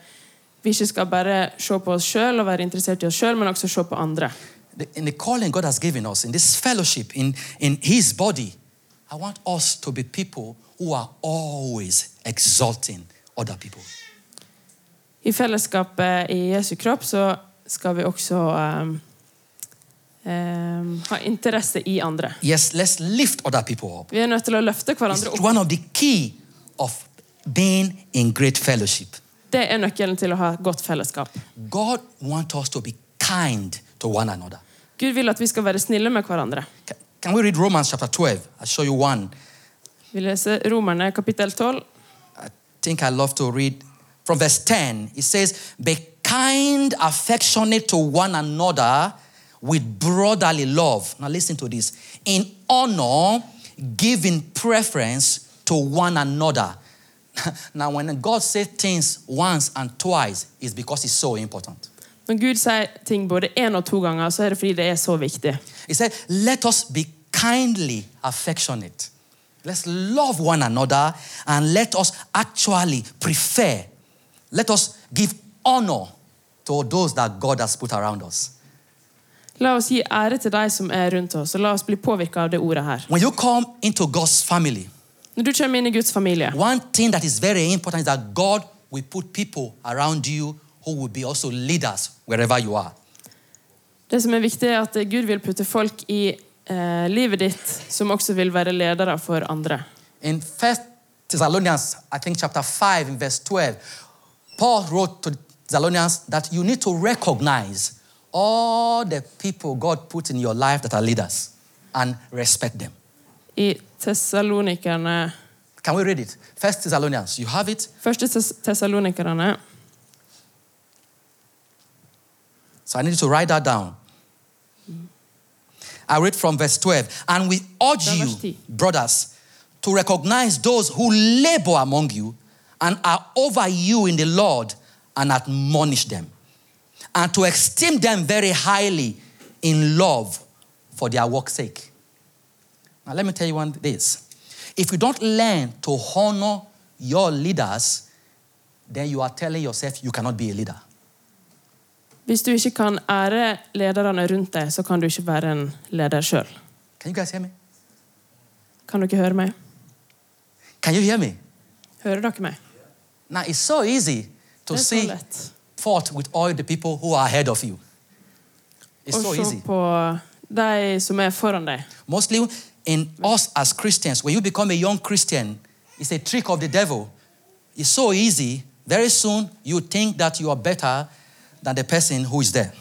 vi ikke skal bare se på oss sjøl og være interessert i oss sjøl, men også se på andre.
The- In the calling God has given us, in this fellowship, in, in his body, I want us to be people who are always exalting other people.
I fellesskapet i Jesu kropp så skal vi også eh, eh, ha interesse i andre.
Yes, let's lift other people up.
Vi er nødt til å løfte hverandre
It's
opp.
one of the key of being in great fellowship.
Det er nøkkelen til å ha et godt fellesskap.
God wants us to be kind to one another.
Gud vil at vi skal være snille med hverandre.
Ca- Can we read Romans chapter 12? I'll show you one.
Vi leser Romerne kapittel 12.
I think I love to read from verse 10. It says, Be kind, affectionate to one another with brotherly love. Now listen to this. In honor, giving preference to one another. now, when God says things once and twice, it's because it's so important.
Når Gud sier ting både én og to ganger, så er det fordi det er så viktig.
He said, Let us be kindly affectionate. Let's love one another and let us actually prefer. Let us give honor to those that God has put around us.
La oss gi ære til de som er rundt oss, og la oss bli påvirka av det ordet her.
When you come into God's family,
Når du kommer inn i Guds familie,
one thing that is very important is that God will put people around you who will be also leaders wherever you are.
det som er viktig, er at Gud vil putte folk i eh, livet ditt som også vil være ledere for andre.
In First Thessalonians, I think chapter 5, in verse 12, Paul wrote to Thessalonians that you need to recognize all the people God put in your life that are leaders and respect them.
I Tessalonikerne
Can we read it? First Thessalonians, you have it?
Første Tess- Tessalonikerne
So I need you to write that down. I read from verse 12. And we urge
Verse 10.
you, brothers, to recognize those who labor among you and are over you in the Lord and admonish them, and to esteem them very highly in love for their work's sake. Now, let me tell you one this. If you don't learn to honor your leaders, then you are telling yourself you cannot be a leader.
Hvis du ikke kan ære lederne rundt deg, så kan du ikke være en leder sjøl.
Can you guys hear me?
Kan dere høre meg?
Can you hear me?
Hører dere meg?
Now it's so easy to
Det er så
see
lett
fault with all the people who are ahead of you. It's
å
so
se
easy.
på de som er foran deg.
Mostly in us as Christians, when you become a young Christian, it's a trick of the devil. It's so easy. Very soon you think that you are better than the person who is there.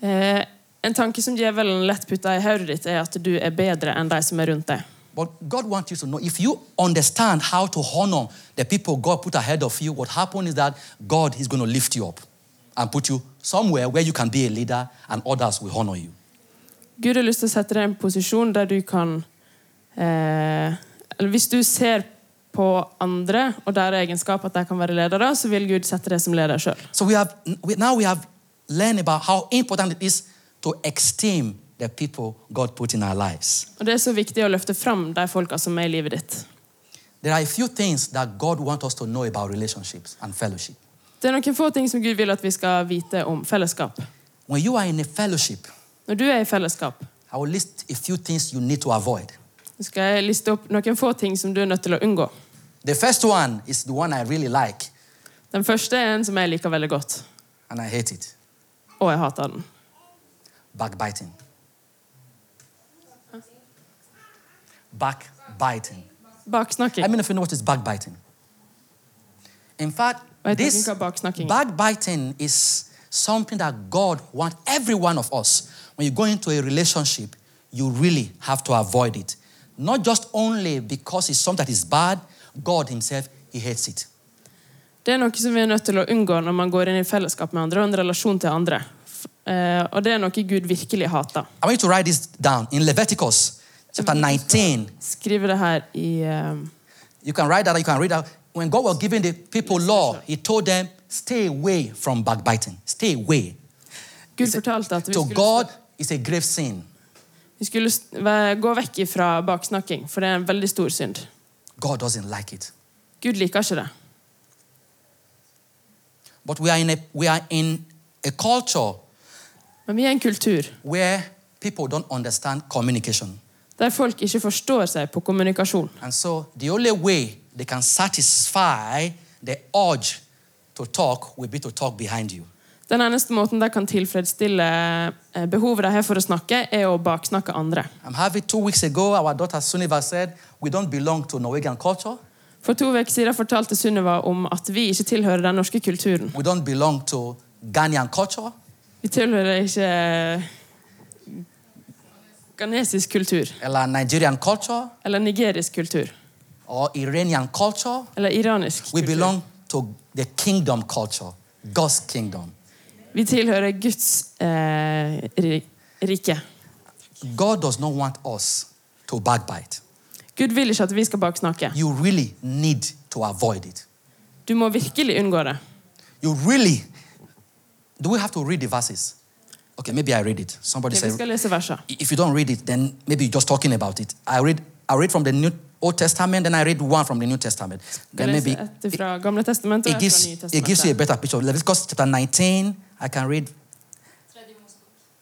Eh, en tanke som djevelen lett putter i hodet ditt, er at du er bedre enn de som er rundt deg.
But God wants you to know if you understand how to honor the people God put ahead of you, what happens is that God is going to lift you up and put you somewhere where you can be a leader and others will honor you.
Gud har lyst til å sette deg i en posisjon der du kan eh, eller Hvis du ser på andre og deres egenskap at de kan være ledere, så vil Gud sette deg som leder sjøl.
So we have we, now we have learned about how important it is to esteem the people God put in our lives.
Og Det er så viktig å løfte fram de folka som er i livet ditt.
There are a few things that God wants us to know about relationships and fellowship.
Det er noen få ting som Gud vil at vi skal vite om fellesskap.
When you are in a fellowship,
Når du er i fellesskap,
I will list a few things you need to avoid.
så skal jeg liste opp noen få ting som du er nødt til å unngå.
The first one is the one I really like
Den første er en som jeg liker veldig godt,
and I hate it
og jeg hater den.
backbiting. Backbiting. I
Baksnakking.
mean, if you know what is backbiting. In fact,
Wait, I
this
think about snacking.
backbiting is something that God wants every one of us. When you go into a relationship, you really have to avoid it. Not just only because it's something that is bad, God Himself, He hates it.
Det er noe som vi er nødt til å unngå når man går inn i fellesskap med andre og en relasjon til andre. F- eh, Og det er noe Gud virkelig hater.
I want you to write this down in Leviticus chapter 19.
Skriver det her i eh,
You can write that, you can read that. When God was giving the people law, He told them, stay away from backbiting. Stay away.
Gud fortalte at vi
To
skulle,
God, it's a grave sin.
vi skulle s- væ- gå vekk ifra baksnakking, for det er en veldig stor synd.
God doesn't like it.
Gud liker ikke det.
But we are in a, we are in a culture
Men vi er en kultur
where people don't understand communication.
der folk ikke forstår seg på kommunikasjon.
And so the only way they can satisfy the urge to talk will be to talk behind you.
Den eneste måten de kan tilfredsstille eh, behovet de har for å snakke, er å baksnakke andre.
I'm having two weeks ago, our daughter Suniva said, We don't belong to Norwegian culture.
For to uker siden fortalte Sunniva om at vi ikke tilhører den norske kulturen.
We don't belong to Ghanaian culture.
Vi tilhører ikke eh, ghanesisk kultur,
Eller Nigerian culture.
eller nigerisk kultur,
Or Iranian culture.
eller iranisk
We
kultur.
belong to the kingdom culture, God's kingdom.
Vi tilhører Guds eh, ri- rike.
God does not want us to backbite.
Gud vil ikke at vi skal baksnakke.
you really need to avoid it.
Du må virkelig unngå det.
You really. Do we have to read the verses? Okay, maybe I read it. Somebody
Ok, vi
said,
skal lese versene.
if you don't read it, then maybe you're just talking about it. I read, I read from the New Old Testament, then I read one from the New Testament.
Vi
Then
skal
maybe
lese ett fra Gamle testamentet
it
og ett fra Nye
gives, it gives you a
testamentet.
better picture. Leviticus chapter 19, I can read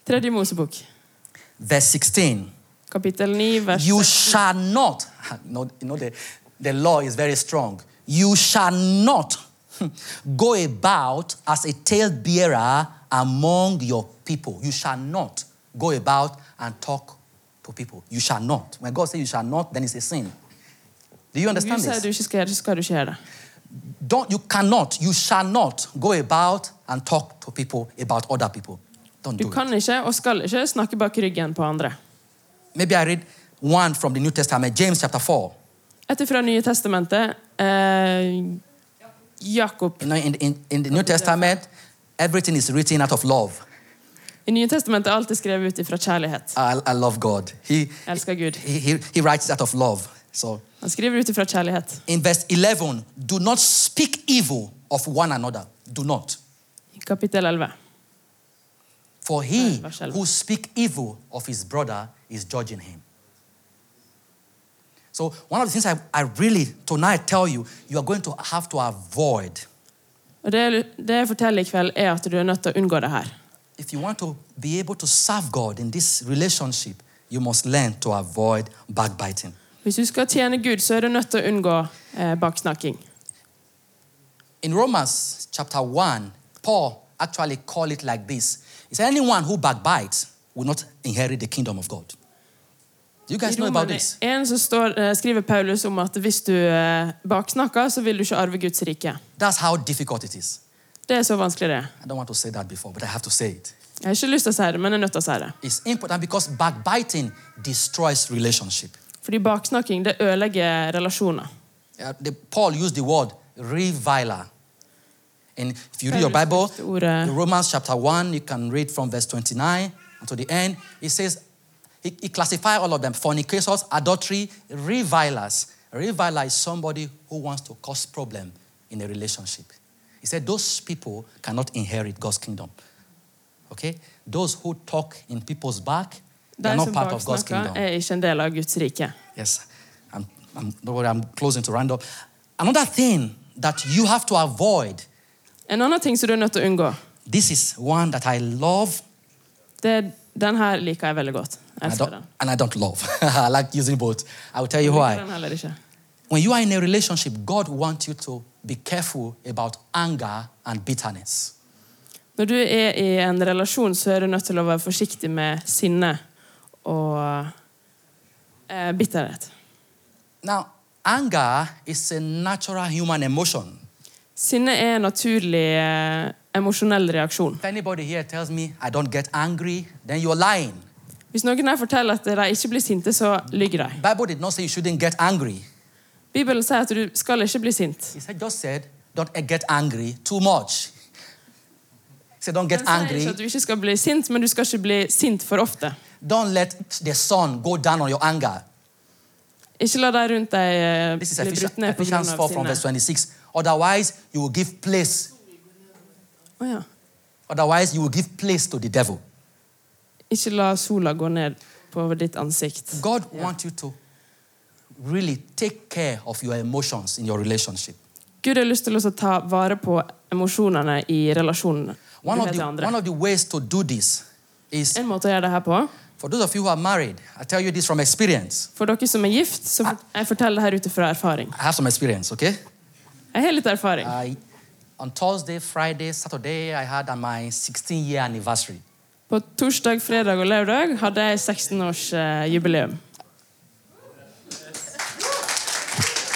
Tredje Mosebok,
verse 16.
kapittel 9, vers
You shall not, no, you know, the, the law is very strong. You shall not hmm, go about as a talebearer among your people. You shall not go about and talk to people. You shall not. When God says you shall not, then it's a sin. Do you understand
Gud sier
this?
du ikke skal gjøre det, så skal du ikke gjøre det.
Don't, you cannot, you shall not go about and talk to people about other people. Don't
Du
do it.
kan ikke og skal ikke snakke bak ryggen på andre.
Maybe I read one from the New Testament, James chapter 4.
Etter fra Nye testamentet eh, Jakob.
You know, in, in, in the New Testament, everything is written out of love.
I Nye testamentet er alltid skrevet ut ifra kjærlighet.
I, I love God. He,
Jeg elsker Gud.
he, he, he writes out of love. So
Han skriver ut ifra kjærlighet.
in verse 11, do not speak evil of one another. Do not.
I kapittel 11.
For he
Verse 11.
who speak evil of his brother is judging him. So, one of the things I, I really tonight tell you, you are going to have to avoid.
Og det, det jeg forteller i kveld, er at du er nødt til å unngå det her.
If you want to be able to serve God in this relationship, you must learn to avoid backbiting.
Hvis du skal tjene Gud, så er du nødt til å unngå eh, baksnakking.
In Romans chapter 1, Paul actually called it like this He said, Anyone who backbites will not inherit the kingdom of God. Do you
I
guys know about
Romerne
this?
1 så står, eh, skriver Paulus om at hvis du eh, baksnakker, så vil du ikke arve Guds rike.
That's how difficult it is.
Det er så vanskelig, det.
I don't want to say that before, but I have to say it.
Jeg har ikke lyst til å si det, men jeg er nødt til å si det.
It's important because backbiting destroys relationship.
Fordi baksnakking det ødelegger relasjoner.
Uh, the- Paul used the word reviler. And if you read your
Paulus
Bible,
brukte ordet-
in Romans chapter 1, you can read from verse 29 until the end. He says, he, he classifies all of them fornicators, adultery, revilers. A reviler is somebody who wants to cause problem in a relationship. He said, those people cannot inherit God's kingdom. Okay? Those who talk in people's back, they're
De
not
som
part of God's
baksnakker,
kingdom.
er ikke en del av Guds rike.
Yes, I'm, I'm, don't worry, I'm closing to round up. Another thing that you have to avoid,
En annen ting som du er nødt til å unngå,
this is one that I love
det er den her liker jeg veldig godt. Jeg
and I
elsker
don't,
den.
and I don't love. I like using both. I will tell you
Jeg liker
why.
den heller ikke.
When you are in a relationship, God wants you to be careful about anger and bitterness.
Når du er i en relasjon, så er du nødt til å være forsiktig med sinne og eh, bitterhet.
Now, anger is a natural human emotion.
Sinne er en naturlig eh, emosjonell reaksjon.
If anybody here tells me I don't get angry, then you're lying.
Hvis noen her forteller at de ikke blir sinte, så lyver de.
Bible did not say you shouldn't get angry.
Bibelen sier at du skal ikke bli sint.
He said, just said, don't e-, get angry too much. He said, don't
Den
get
sier
angry.
ikke at du ikke skal bli sint, men du skal ikke bli sint for ofte.
Don't let the sun go down on your anger.
Ikke la de rundt deg eh,
This is
bli
Ephesians
brutt ned pga.
Ephesians 4 from
sinne.
verse 26. Otherwise, you will give place.
Å ja.
Otherwise, you will give place to the devil.
Ikke la sola gå ned på ditt ansikt.
God wants you to really take care of your emotions in your relationship.
Gud har lyst til oss å ta vare på emosjonene i relasjonene
One
med
of, the,
til andre.
one of the ways to do this is
En måte å gjøre det her på
for those of you who are married, I tell you this from experience.
For dere som er gift, så fort- jeg forteller det her ut ifra erfaring.
I have some experience, okay?
Jeg har litt erfaring.
I, on Thursday, Friday, Saturday, I had uh, my 16 year anniversary.
På torsdag, fredag og lørdag hadde jeg 16-årsjubileum.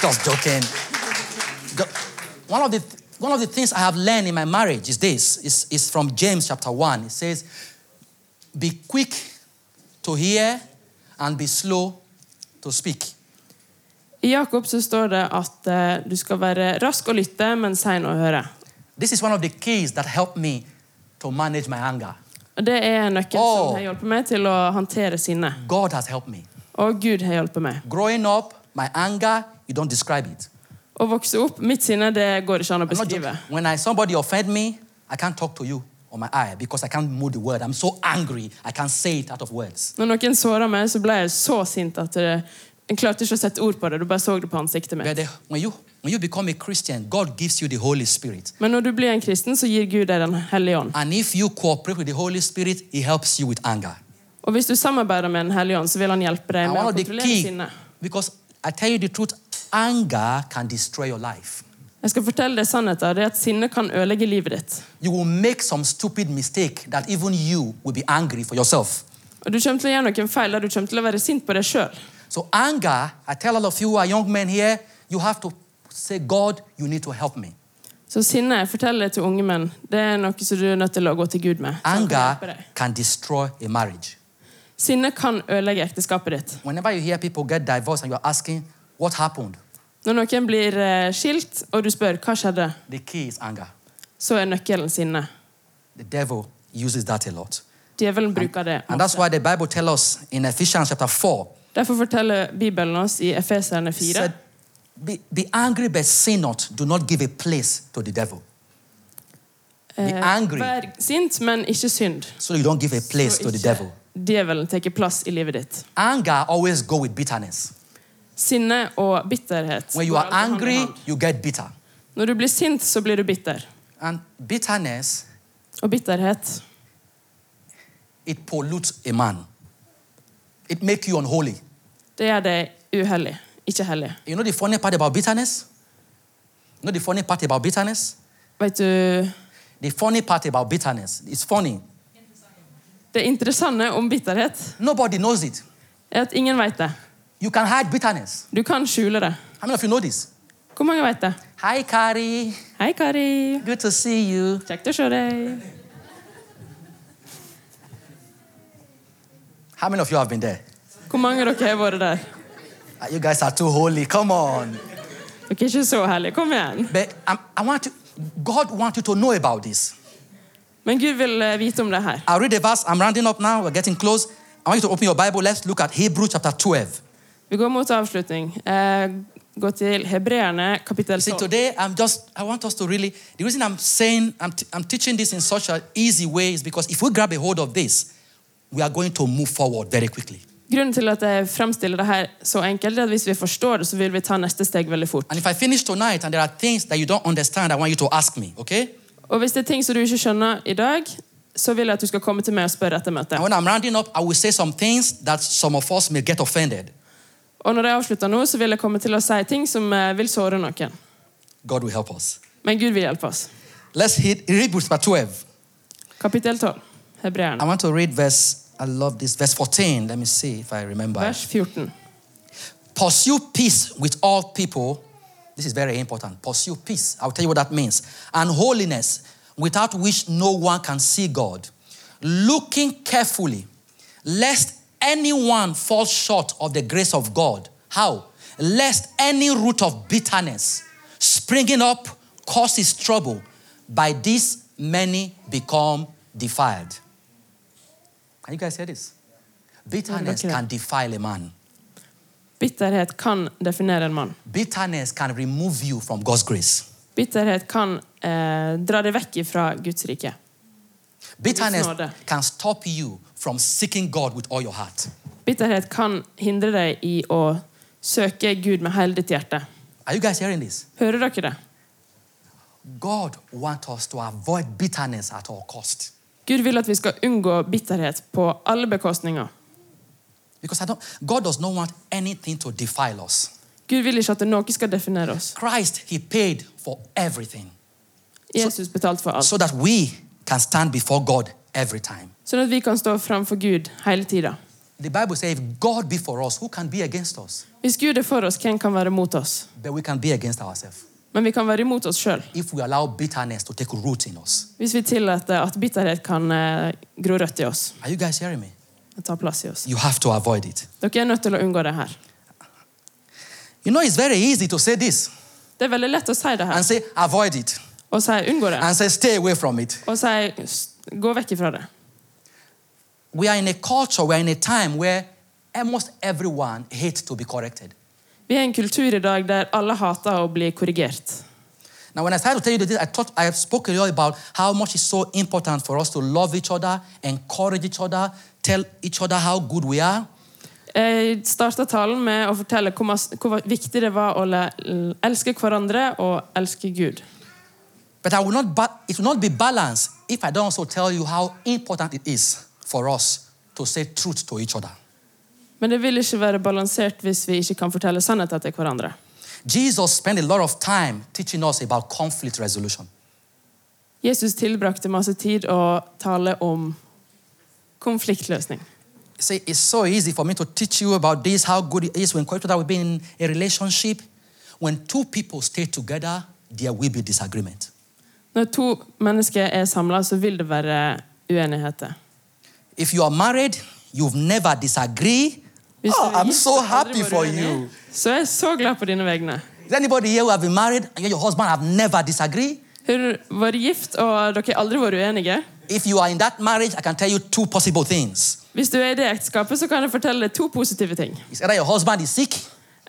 Just joking. Go- One of the one of the things I have learned in my marriage is this is, is from James chapter 1. It says, Be quick to hear and be slow to speak.
I Jakob så står det at eh, du skal være rask å lytte, men sein å høre.
This is one of the keys that helped me to manage my anger.
Og Det er en nøkkel
Åh.
som har hjulpet meg til å håndtere sinne.
God has helped me.
Og Gud har hjulpet meg.
Growing up, my anger, you don't describe it.
Å vokse opp Mitt sinne det går ikke an å
I'm not
beskrive.
joking. When I, somebody offend me, I can't talk to you on my eye because I can't move the word. I'm so angry, I can't say it out of words.
Når noen såra meg, så ble jeg så sint at eh, en klarte ikke å sette ord på det. Du bare så det på ansiktet mitt.
But the- when, you, when you become a Christian, God gives you the Holy Spirit.
Men når du blir en kristen, så gir Gud deg Den hellige ånd.
And if you cooperate with the Holy Spirit, He helps you with anger.
Og hvis du samarbeider med Den hellige ånd, så vil han hjelpe deg
And
med
one
å
of the
kontrollere
key,
sinnet.
because I tell you the truth, anger can destroy your life.
Jeg skal fortelle deg sannheten. Det er at sinne kan ødelegge livet ditt.
You will make some stupid mistake that even you will be angry for yourself.
Og du kommer til å gjøre noen feil der du kommer til å være sint på deg sjøl.
So anger, I tell all of you who are young men here, you have to say, God, you need to help me.
Så sinne, jeg forteller det til unge menn, det er noe som du er nødt til å gå til Gud med. så han kan hjelpe
Anger
deg.
can destroy a marriage.
Sinne kan ødelegge ekteskapet ditt.
Whenever you hear people get divorced and you're asking, what happened?
Når noen blir eh, skilt, og du spør hva skjedde,
The key is anger.
så er nøkkelen sinne.
The devil uses that a lot.
Djevelen bruker det.
And that's why the Bible tells us in Ephesians chapter 4,
Derfor forteller Bibelen oss i Efeserne
it
4
said, be, be angry but sin not. Do not give a place to the devil. Be
eh,
angry
Vær sint, men ikke synd.
so you don't give a place
Så
to the
ikke
devil.
Djevelen tar plass i livet ditt.
Anger always go with bitterness.
Sinne og bitterhet.
When you
går
are
alltid hand i
angry,
hand.
you get bitter.
Når du blir sint, så blir du bitter.
And bitterness,
Og bitterhet
it pollutes a man. It makes you unholy.
Det gjør deg uheldig, ikke hellig.
You know the funny part about bitterness? You know the funny part about bitterness?
Vet du
The funny part about bitterness, it's funny.
Det interessante om bitterhet
Nobody knows it.
er at ingen vet det.
You can hide bitterness.
Du kan skjule det.
How many of you know this?
Hvor mange vet det?
Hi, Carrie.
Hei, Kari.
Good to see you.
Kjekt å se deg.
How many of you have been there?
Hvor mange av dere har vært der?
Ah, You guys are too holy. Come on.
Dere er ikke så hellige. Kom igjen.
But i I want you, God wants you to know about this.
Men Gud vil eh, vite om det her.
I'll read the verse. I'm rounding up now. We're getting close. I want you to open your Bible. Let's look at Hebrews chapter 12.
Vi går mot avslutning. Eh, gå til Hebreerne kapittel
You see,
12.
today I'm just, I want us to really, the reason I'm saying, I'm, t- I'm teaching this in such an easy way is because if we grab a hold of this, we are going to move forward very quickly.
Grunnen til at jeg fremstiller det her så enkelt, er at hvis vi forstår det, så vil vi ta neste steg veldig fort.
And if I finish tonight and there are things that you don't understand, I want you to ask me, okay?
Og hvis det er ting som du ikke skjønner i dag, så vil jeg at du skal komme til meg og spørre etter møtet.
And when I'm rounding up, I will say some things that some of us may get offended.
Og når jeg avslutter nå, så vil jeg komme til å si ting som eh, vil såre noen.
God will help us.
Men Gud vil hjelpe oss.
Let's hit, read verse 12.
Kapittel 12,
I
Hebreerne,
want to read verse, I love this, verse 14. Let me see if I remember.
vers 14.
Pursue peace with all people. This is very important. Pursue peace. I'll tell you what that means. And holiness, without which no one can see God. Looking carefully, lest anyone fall short of the grace of God. How? Lest any root of bitterness springing up causes trouble. By this, many become defiled. Can you guys hear this? Bitterness
Okay.
can defile a man.
Bitterhet kan definere en mann.
Bitterness can remove you from God's grace.
Bitterhet kan eh, dra deg vekk ifra Guds rike.
Bitterness
It's not that.
can stop you from seeking God with all your heart.
Bitterhet kan hindre deg i å søke Gud med hele ditt hjerte.
Are you guys hearing this?
Hører dere det?
God wants us to avoid bitterness at all cost.
Gud vil at vi skal unngå bitterhet på alle bekostninger.
Because I don't, God does not want anything to defile us.
Gud vil ikke at noe skal definere oss.
Christ, He paid for everything
Jesus betalte for alt.
so that we can stand before God every time.
Sånn at vi kan stå framfor Gud hele tida.
The Bible says, if God be for us, who can be against us?
Hvis Gud er for oss, hvem kan være mot oss?
But we can be against ourselves
Men vi kan være imot oss sjøl
if we allow bitterness to take root in us.
hvis vi tillater at bitterhet kan eh, gro rødt i oss
Are you guys hearing me?
og ta plass i oss.
You have to avoid it.
Dere er nødt til å unngå det her.
You know, it's very easy to say this
Det er veldig lett å si det
and
her
say, avoid it,
og si 'unngå det'
and say, stay away from it.
og si "S- 'gå vekk ifra det'.
We are in a culture, we are in a time where almost everyone hates to be corrected.
Vi er i en kultur i dag der alle hater å bli korrigert.
Now, when I started to tell you this, I thought I have spoken a lot about how much it's so important for us to love each other, encourage each other, tell each other how good we are.
Jeg starta talen med å fortelle hvor, mas- hvor viktig det var å le- l- elske hverandre og elske Gud.
But I will not ba- it will not be balanced if I don't also tell you how important it is for us to say truth to each other.
Men det vil ikke være balansert hvis vi ikke kan fortelle sannheten til hverandre.
Jesus spent a lot of time teaching us about conflict resolution.
Jesus tilbrakte masse tid å tale om konfliktløsning.
See, it's so easy for me to teach you about this, how good it is when each other will be in a relationship. When two people stay together, there will be disagreement.
Når to mennesker er samla, så vil det være uenigheter.
If you are married, you've never disagree.
Hvis du
Oh,
er
I'm
gift
so
og aldri
happy
vært
for
uenig,
you.
Så jeg er så glad på dine vegne.
Is there anybody here who have been married and yet your husband have never disagree?
Har du vært gift, og dere har aldri vært uenige?
If you are in that marriage, I can tell you two possible things.
Hvis du er i det ekteskapet, så kan jeg fortelle deg to positive ting.
It's either your husband is sick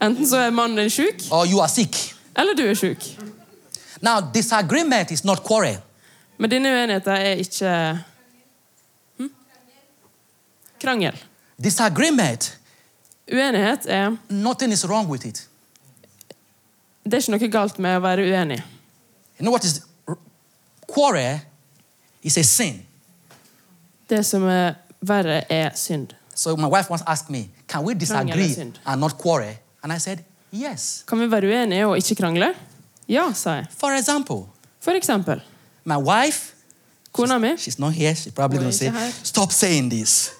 Enten så er mannen din sjuk,
or you are sick.
eller du er sjuk.
Now, disagreement is not quarrel.
Men dine uenigheter er ikke hm? Krangel.
Disagreement
Uenighet er
Nothing is wrong with it.
Det er ikke noe galt med å være uenig.
You know what is quarrel is a sin.
Det som er verre, er synd.
So my wife once asked me, "Can we
Wrong, yeah,
disagree
sin.
and not quarrel?" And I said, "Yes."
Kan vi være uenige og ikke krangle? Ja, sa jeg.
For example,
For eksempel.
my wife,
Kona mi.
she's not here. She's probably
Wait,
going to say,
I have-
"Stop saying this."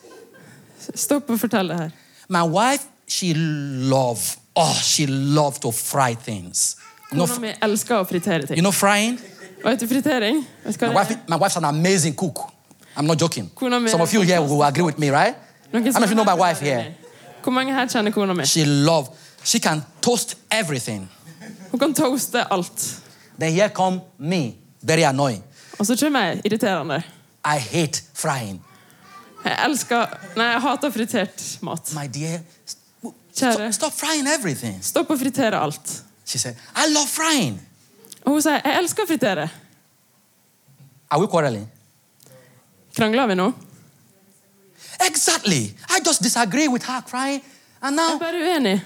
Stopp og fortell det her.
My wife, she love. Oh, she love to fry things. You know,
Kona mi elsker å fritere
you
ting.
know frying.
Og etter fritering vet du
My
hva det er?
wife, my wife's an amazing cook. I'm not joking.
Kuna me-
Some of you here will agree with me, right? I
Noen
don't
som
know if you know my
er
wife
uenig.
here.
Hvor mange her kjenner kona mi?
She love. She can toast everything.
Hun kan toaste alt.
Then here come me, very annoying.
Og så kommer jeg irriterende.
I hate frying.
Jeg elsker Nei, jeg hater fritert mat.
My dear, st- w-
Chara.
stop, stop frying everything.
Stopp å fritere alt.
She said, I love frying.
Og hun sier 'jeg elsker å fritere'.
Are we quarreling?
Krangler vi nå?
Exactly. I just disagree with her crying. And
Jeg er
now,
bare uenig.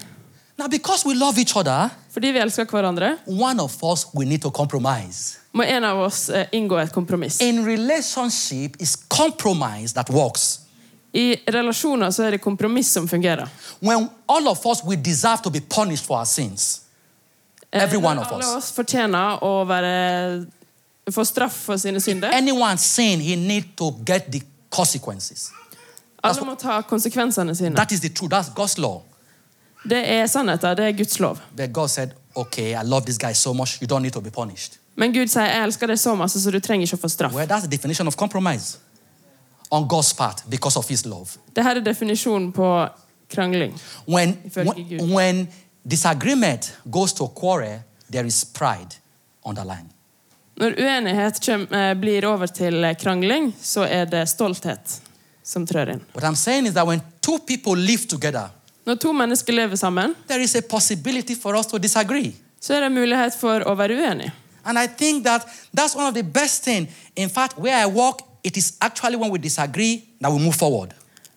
now because we love each other,
Fordi vi elsker hverandre,
one of us we need to compromise.
må en av oss eh, inngå et kompromiss.
In relationship, it's compromise that works.
I relasjoner så er det kompromiss som fungerer.
When all of us we deserve to be punished for our sins.
Eh,
Every one
når
of
alle
us.
oss fortjener å være få straff for sine synder.
Anyone sin, he need to get the consequences. Altså,
Alle må ta konsekvensene sine.
That is the truth. That's God's law.
Det er sannheten. Det er Guds lov.
But God said, okay, I love this guy so much, you don't need to be punished.
Men Gud sier 'jeg elsker deg så masse, så du trenger ikke å få straff'.
Well, that's the definition of compromise on God's part because of his love.
Dette er definisjonen på krangling.
When,
felt good.
when, when disagreement goes to quarrel, there is pride on the line.
Når uenighet kjem, eh, blir over til krangling, så er det stolthet som trør inn.
What I'm saying is that when two people live together,
Når to mennesker lever sammen,
there is a possibility for us to disagree.
så er det mulighet for å være uenig.
And I think that that's one of the best thing. In fact, where I work, it is actually when we disagree that we move forward.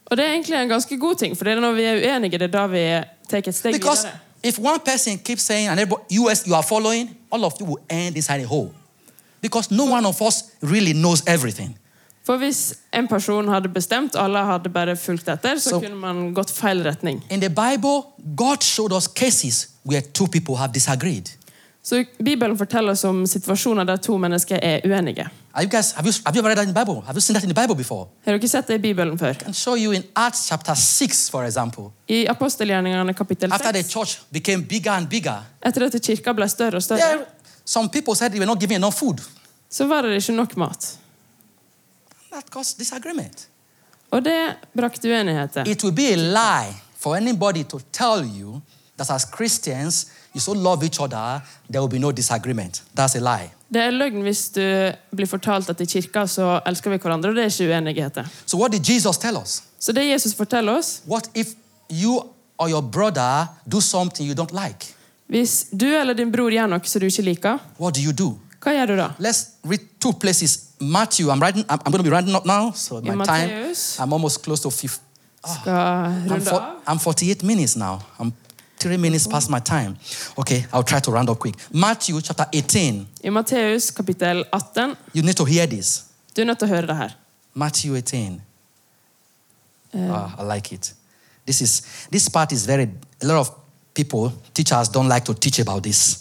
Og det er egentlig en ganske god ting, for det er når vi er uenige, det er da vi tar et steg
Because
videre.
if one person keeps saying, and everybody, you, as you are following, all of you will end inside a hole. Because no one of us really knows everything.
For hvis en person hadde bestemt, alle hadde bare fulgt etter, så
Så-
kunne man gått feil retning.
In the Bible, God showed us cases where two people have disagreed.
Så Bibelen forteller oss om situasjoner der to mennesker er uenige.
Are you guys, have you, have you ever read that in the Bible? Have you seen that in the Bible before?
Har dere sett det i Bibelen før?
I can show you in Acts chapter 6, for example.
I apostelgjerningene kapittel
After the
6,
church became bigger and bigger,
etter at kirka ble større og større,
there, some people said they were not giving enough food.
så var det ikke nok mat.
That caused disagreement.
Og det brakte uenigheter.
It will be a lie for anybody to tell you that as Christians, you so love each other, there will be no disagreement. That's a lie.
Det er løgn hvis du blir fortalt at i kirka så elsker vi hverandre, og det er ikke uenigheter.
So, what did Jesus tell us?
Så det Jesus forteller oss
What if you or your brother do something you don't like?
Hvis du eller din bror gjør noe som du ikke liker,
What do you do?
hva gjør du da?
Let's read two places. Matthew, I'm writing, I'm, going to be writing up now, so my time,
In Matthäus.
I'm almost close to 50. Ah,
Skal
I'm,
runde
for-
av?
I'm 48 minutes now. I'm three minutes past my time. Okay, I'll try to round up quick. Matthew chapter 18.
I Matteus kapittel 18
You need to hear this.
Du er nødt til å høre det her.
Matthew 18. Ah, I like it. This is this part is very a lot of people teachers don't like to teach about this.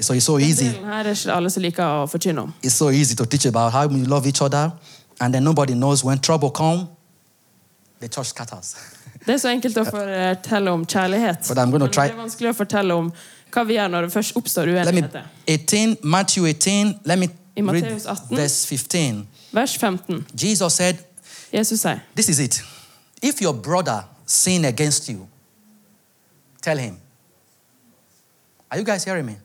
So it's so easy.
Delen her er ikke alle som liker å forkynne om.
It's so easy to teach about how we love each other, and then nobody knows when trouble comes, the church scatters.
Det er så enkelt å fortelle om kjærlighet.
But I'm gonna
Men
try-
Det er vanskelig å fortelle om hva vi gjør når det først oppstår
Let me
uenigheter.
18 Matthew 18. Let me
In
read
Matthäus 18.
verse 15.
Vers 15.
Jesus said,
Jesus sier
"This is it. If your brother sin against you, tell him." Are you guys hearing me?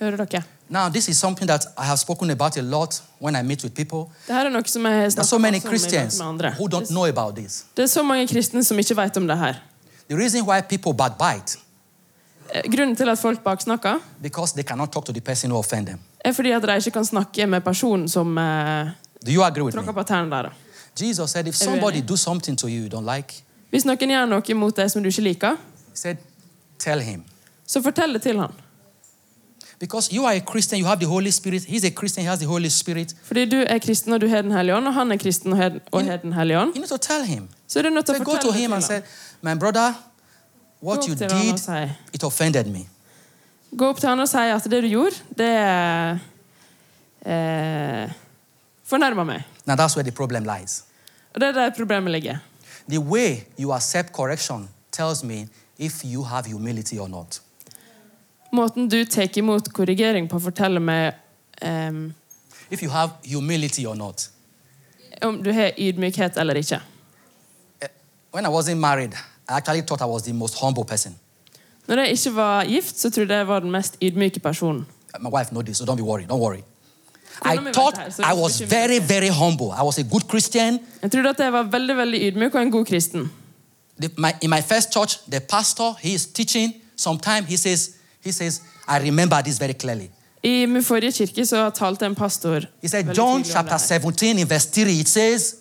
Hører dere?
Now, this is something that I have spoken about a lot when I meet with people.
Det her er noe som jeg
There are
snakker
so many
masse om i møte
Christians
med andre.
who don't know about this.
Det er så mange kristne som ikke vet om det her.
The reason why people backbite
Eh, Grunnen til at folk baksnakker,
because they cannot talk to the person who offend them.
er fordi at de ikke kan snakke med personen som eh,
Do you agree with me?
tråkker på tærne deres.
Jesus said, if
Everyone,
somebody
eh?
do something to you you don't like,
Hvis noen gjør noe mot deg som du ikke liker,
He said, Tell him.
så fortell det til han.
Because you are a Christian, you have the Holy Spirit. He's a Christian, he has the Holy Spirit.
Fordi du er kristen og du har Den hellige ånd, og han er kristen og har- og har Den hellige ånd.
You need to tell him.
Så er du nødt
So
til å
go to
fortelle det
him
til
and
han.
say, My brother, what
Go
you
up to him and
did,
say-
it offended me.
Gå opp til han og si at det du gjorde, det eh, fornærma meg.
Now that's where the problem lies.
Og det er der problemet ligger.
The way you accept correction tells me if you have humility or not.
Måten du tar imot korrigering på, forteller meg ehm,
If you have humility or not.
om du har ydmykhet eller ikke.
Eh, When I wasn't married, I actually thought I was the most humble person.
Når jeg ikke var gift, så trodde jeg jeg var den mest ydmyke personen.
My wife knows this, so don't be worried. Don't worry.
Kona mi
I
vet det her,
thought
så
I
det
was
bekymrer
very,
ikke.
very humble. I was a good Christian.
Jeg trodde at jeg var veldig veldig ydmyk og en god kristen.
The- my, in my first church, the pastor he is teaching. Sometimes he says, he says, I remember this very clearly.
I min forrige kirke så talte en pastor
He said,
veldig
John
tydelig om
chapter
det her.
17 in verse 3, it says,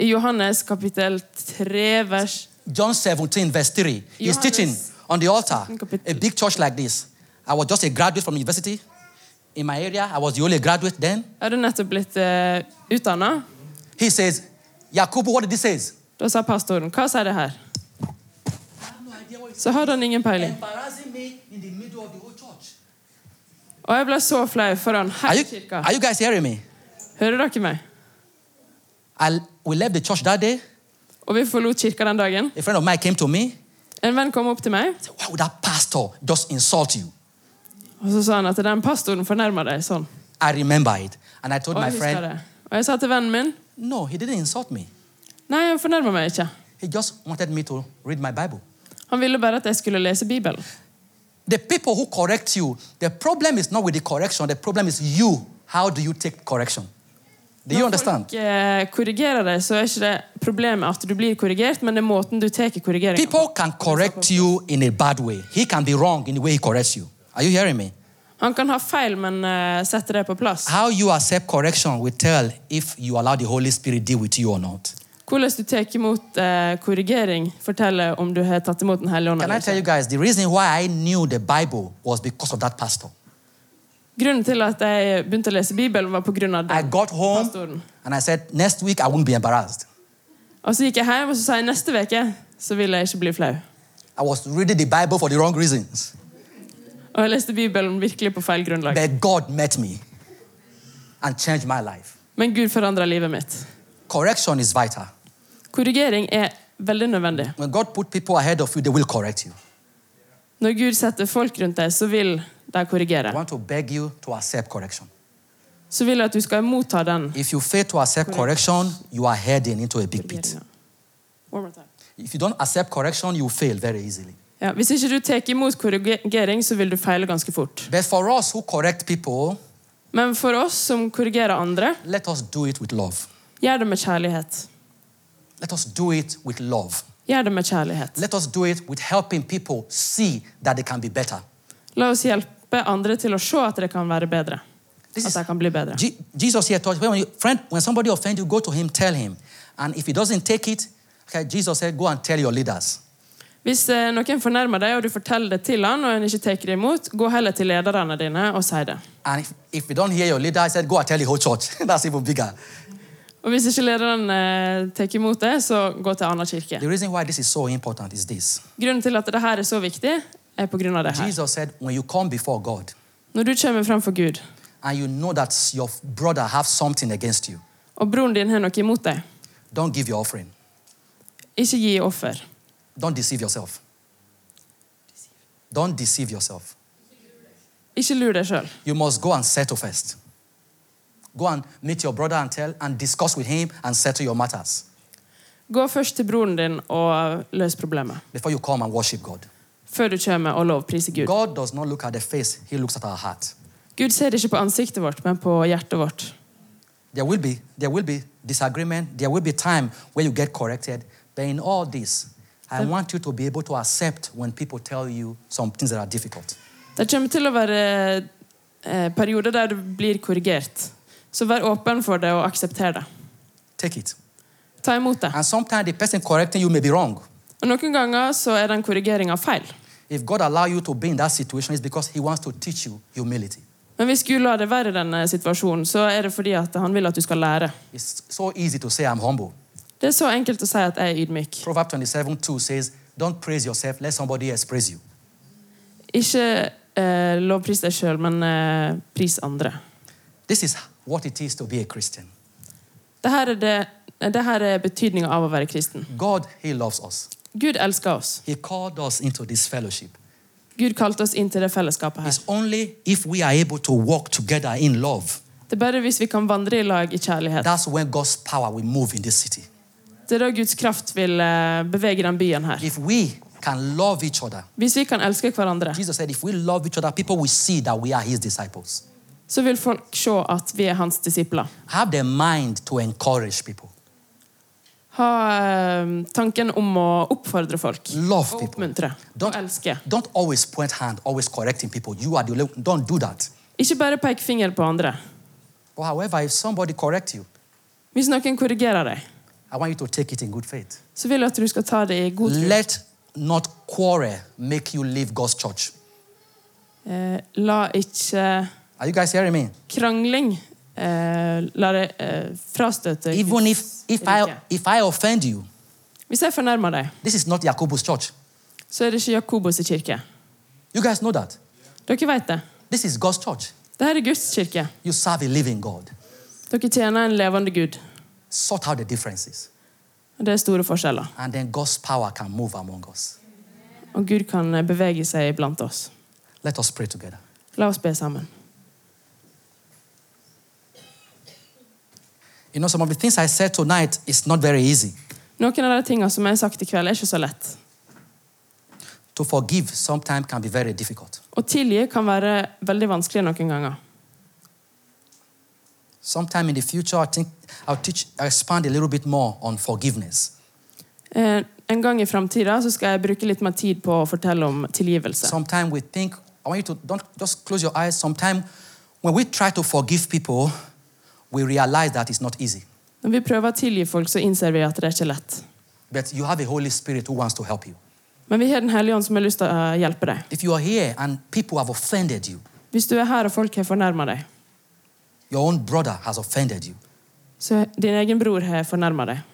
I Johannes kapittel 3 vers
John 17, verse 3. He's
Johannes-
teaching on the altar.
Capital.
A big church like this. I was just a graduate from university in my area. I was the only graduate then.
Jeg hadde nettopp blitt uh, utdanna.
He says, Yakubu, what did he say?
Da sa pastoren Hva sier det her? Så hadde han ingen peiling.
Embarrassing me in the middle of the whole church.
Og jeg ble så flau foran
Are
hele
you,
kirka.
are you guys hearing me?
Hører dere meg?
I, we left the church that day.
Og vi forlot kirka den dagen.
A friend of mine came to me.
En venn kom opp til meg,
Said, Why would that pastor just insult you?
og så sa han at den pastoren fornærma deg sånn.
I remember it. And I told
Og
my
jeg husker
friend,
det. Og jeg sa til vennen min
No, he didn't insult me.
Nei, han fornærma meg ikke.
He just wanted me to read my Bible.
Han ville bare at jeg skulle lese Bibelen.
The people who correct you, the problem is not with the correction, the problem is you. How do you take correction? Do you understand?
Folk eh, korrigerer deg, så er ikke det problemet at du blir korrigert, men det er måten du tar korrigeringa på.
People can correct you in a bad way. He can be wrong in the way he corrects you. Are you hearing me?
Han kan ha feil, men eh, setter det på plass.
How you accept correction will tell if you allow the Holy Spirit deal with you or not.
Hvordan du tar imot eh, korrigering, forteller om du har tatt imot Den hellige ånd.
Can I
eller
tell you
ikke.
guys the reason why I knew the Bible was because of that pastor.
Grunnen til at jeg begynte å lese Bibelen, var pga.
I
den.
got home
Pastor.
and I said, next week I won't be embarrassed.
Og så gikk jeg hjem og så sa jeg neste uke så vil jeg ikke bli flau.
I was reading the Bible for the wrong reasons.
Og jeg leste Bibelen virkelig på feil grunnlag.
But God met me and changed my life.
Men Gud forandra livet mitt.
Correction is vital.
Korrigering er veldig nødvendig.
When God put people ahead of you, they will correct you.
Når Gud setter folk rundt deg, så vil de korrigere.
I want to beg you to accept correction.
Så vil jeg at du skal motta den
If you fail to accept correction, you are heading into a big pit.
korrigeringen. One more time.
If you don't accept correction, you fail very easily.
Ja, hvis ikke du tar imot korrigering, så vil du feile ganske fort.
But for us who correct people,
Men for oss som korrigerer andre,
let us do it with love.
gjør det med kjærlighet.
Let us do it with love.
Gjør det med kjærlighet.
Let us do it with helping people see that they can be better.
La oss hjelpe andre til å se at det kan være bedre.
This
At
is-
de kan bli bedre.
Je- Jesus here taught when you, friend, when somebody offends you, go to him, tell him. And if he doesn't take it, okay, Jesus said, go and tell your leaders.
Hvis eh, noen fornærmer deg, og du forteller det til han, og han ikke tar det imot, gå heller til lederne dine og si det.
And if, if you don't hear your leader, I said, go and tell the whole church. That's even bigger.
Og hvis ikke lederen eh, tar imot det, så gå til annen kirke.
The reason why this is so important is this.
Grunnen til at dette er så viktig, er på grunn av det her.
Jesus said, when you come before God
Når du kommer framfor Gud,
and you know that your brother have something against you,
og broren din har noe imot deg,
don't give your offering.
ikke gi offer.
Don't deceive yourself. Don't deceive yourself.
Ikke lur deg sjøl.
You must go and settle first. Go and meet your brother and tell and discuss with him and settle your matters
Gå først til broren din og løs problemet,
before you come and worship God.
før du kommer og lovpriser Gud.
God does not look at the face, He looks at our heart.
Gud ser ikke på ansiktet vårt, men på hjertet vårt.
There will be there will be disagreement. There will be time where you get corrected. But in all this, I want you to be able to accept when people tell you some things that are difficult.
Det kommer til å være eh, perioder der du blir korrigert. Så vær åpen for det og aksepter det.
Take it.
Ta imot det.
And sometimes the person correcting you may be wrong.
Og Noen ganger så er den korrigeringa feil.
If God allow you to be in that situation, it's because He wants to teach you humility.
Men hvis Gud lar deg være i denne situasjonen, så er det fordi at han vil at du skal lære.
It's so easy to say, I'm humble.
Det er så enkelt å si at jeg er ydmyk.
Proverbs 27 2 says, Don't praise yourself, let somebody else praise you.
Ikke eh, lovpris deg sjøl, men eh, pris andre.
This is what it is to be a Christian.
Det her er, det, det her er betydninga av å være kristen.
God, He loves us.
Gud elsker oss.
He called us into this fellowship.
Gud kalte oss inn til det fellesskapet her.
It's only if we are able to walk together in love
Det er bare hvis vi kan vandre i lag i kjærlighet.
that's when God's power will move in this city.
Det er da Guds kraft vil eh, bevege den byen her.
If we can love each other,
Hvis vi kan elske hverandre,
Jesus said, if we love each other, people will see that we are His disciples.
så vil folk se at vi er hans disipler.
Have the mind to encourage people,
Ha eh, tanken om å oppfordre folk.
love
Og
people.
oppmuntre. Og elske.
don't always point hand, always correcting people. You are the only- don't do that.
Ikke bare peke finger på andre.
But however, if somebody correct you,
Hvis noen korrigerer deg,
I want you to take it in good faith.
så vil jeg at du skal ta det i god tro.
Let not quarrel make you leave God's church.
Eh, la ikke
Are you guys hearing me?
krangling eh, La det eh, frastøte
Even if
Guds
if I
rike.
if I offend you,
Hvis jeg fornærmer deg,
this is not Jacobus church.
så er det ikke Jakobos kirke.
You guys know that.
Dere vet det.
This is God's church.
Dette er Guds kirke.
You serve a living God.
Dere tjener en levende Gud.
Sort out the differences,
Og Det er store forskjeller.
and then God's power can move among us.
Og Gud kan eh, bevege seg iblant oss.
Let us pray together.
La oss be sammen.
You know, some of the things I said tonight is not very easy.
Noen av de tingene som jeg har sagt i kveld, er ikke så lett.
To forgive sometimes can be very difficult.
Å tilgi kan være veldig vanskelig noen ganger.
Sometime in the future, I think I'll teach, I'll expand a little bit more on forgiveness.
Eh, en gang i framtida skal jeg bruke litt mer tid på å fortelle om tilgivelse.
Sometimes we think, I want you to don't just close your eyes. Sometimes when we try to forgive people, we realize that it's not easy.
Når vi prøver å tilgi folk, så innser vi at det er ikke lett.
But you have a Holy Spirit who wants to help you.
Men vi har Den hellige ånd som har lyst til å eh, hjelpe deg.
If you are here and people have offended you,
Hvis du er her og folk har fornærma deg,
your own brother has offended you,
så din egen bror har fornærma deg.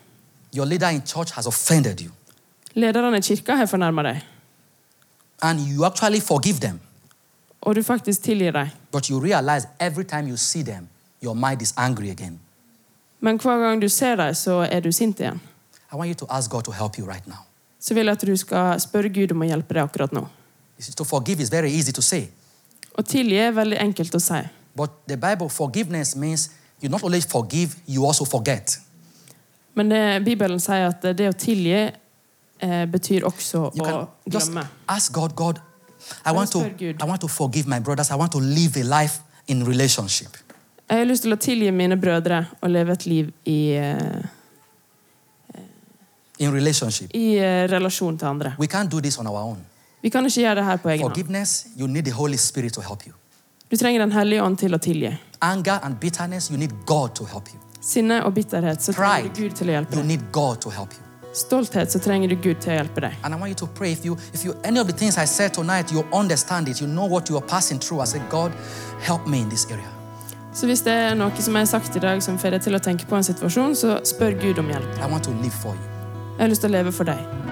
your leader in church has offended you,
Lederne i kirka har fornærma deg,
and you actually forgive them,
og du faktisk tilgir dem.
but you realize every time you see them, your mind is angry again.
Men hver gang du ser dem, så er du sint igjen.
I want you to ask God to help you right now.
Så vil jeg at du skal spørre Gud om å hjelpe deg akkurat nå.
You see, To forgive is very easy to say,
Å tilgi er veldig enkelt å si.
but the Bible forgiveness means you not only forgive, you also forget.
Men det, Bibelen sier at det å tilgi eh, betyr også
You
å
can just
glemme.
ask God, God, I want
Ask God,
to
good.
I want to forgive my brothers. I want to live a life in relationship.
Jeg har lyst til å tilgi mine brødre og leve et liv i, eh,
In relationship.
i eh, relasjon til andre.
We can't do this on our own.
Vi kan ikke gjøre det her på egen hånd.
Forgiveness, you need the Holy Spirit to help you.
Du trenger Den hellige ånd til å tilgi.
Anger and bitterness, you need God to help you.
Sinne og bitterhet, så trenger du
Pride.
Gud til å hjelpe
You
deg.
need God to help you.
Stolthet, så trenger du Gud til å hjelpe deg.
And I want you to pray if you if you any of the things I said tonight, you understand it, you know what you are passing through. I say, God, help me in this area.
Så hvis det er noe som jeg har sagt i dag som får deg til å tenke på en situasjon, så spør Gud om hjelp.
I want to live for you.
Jeg har lyst til å leve for deg.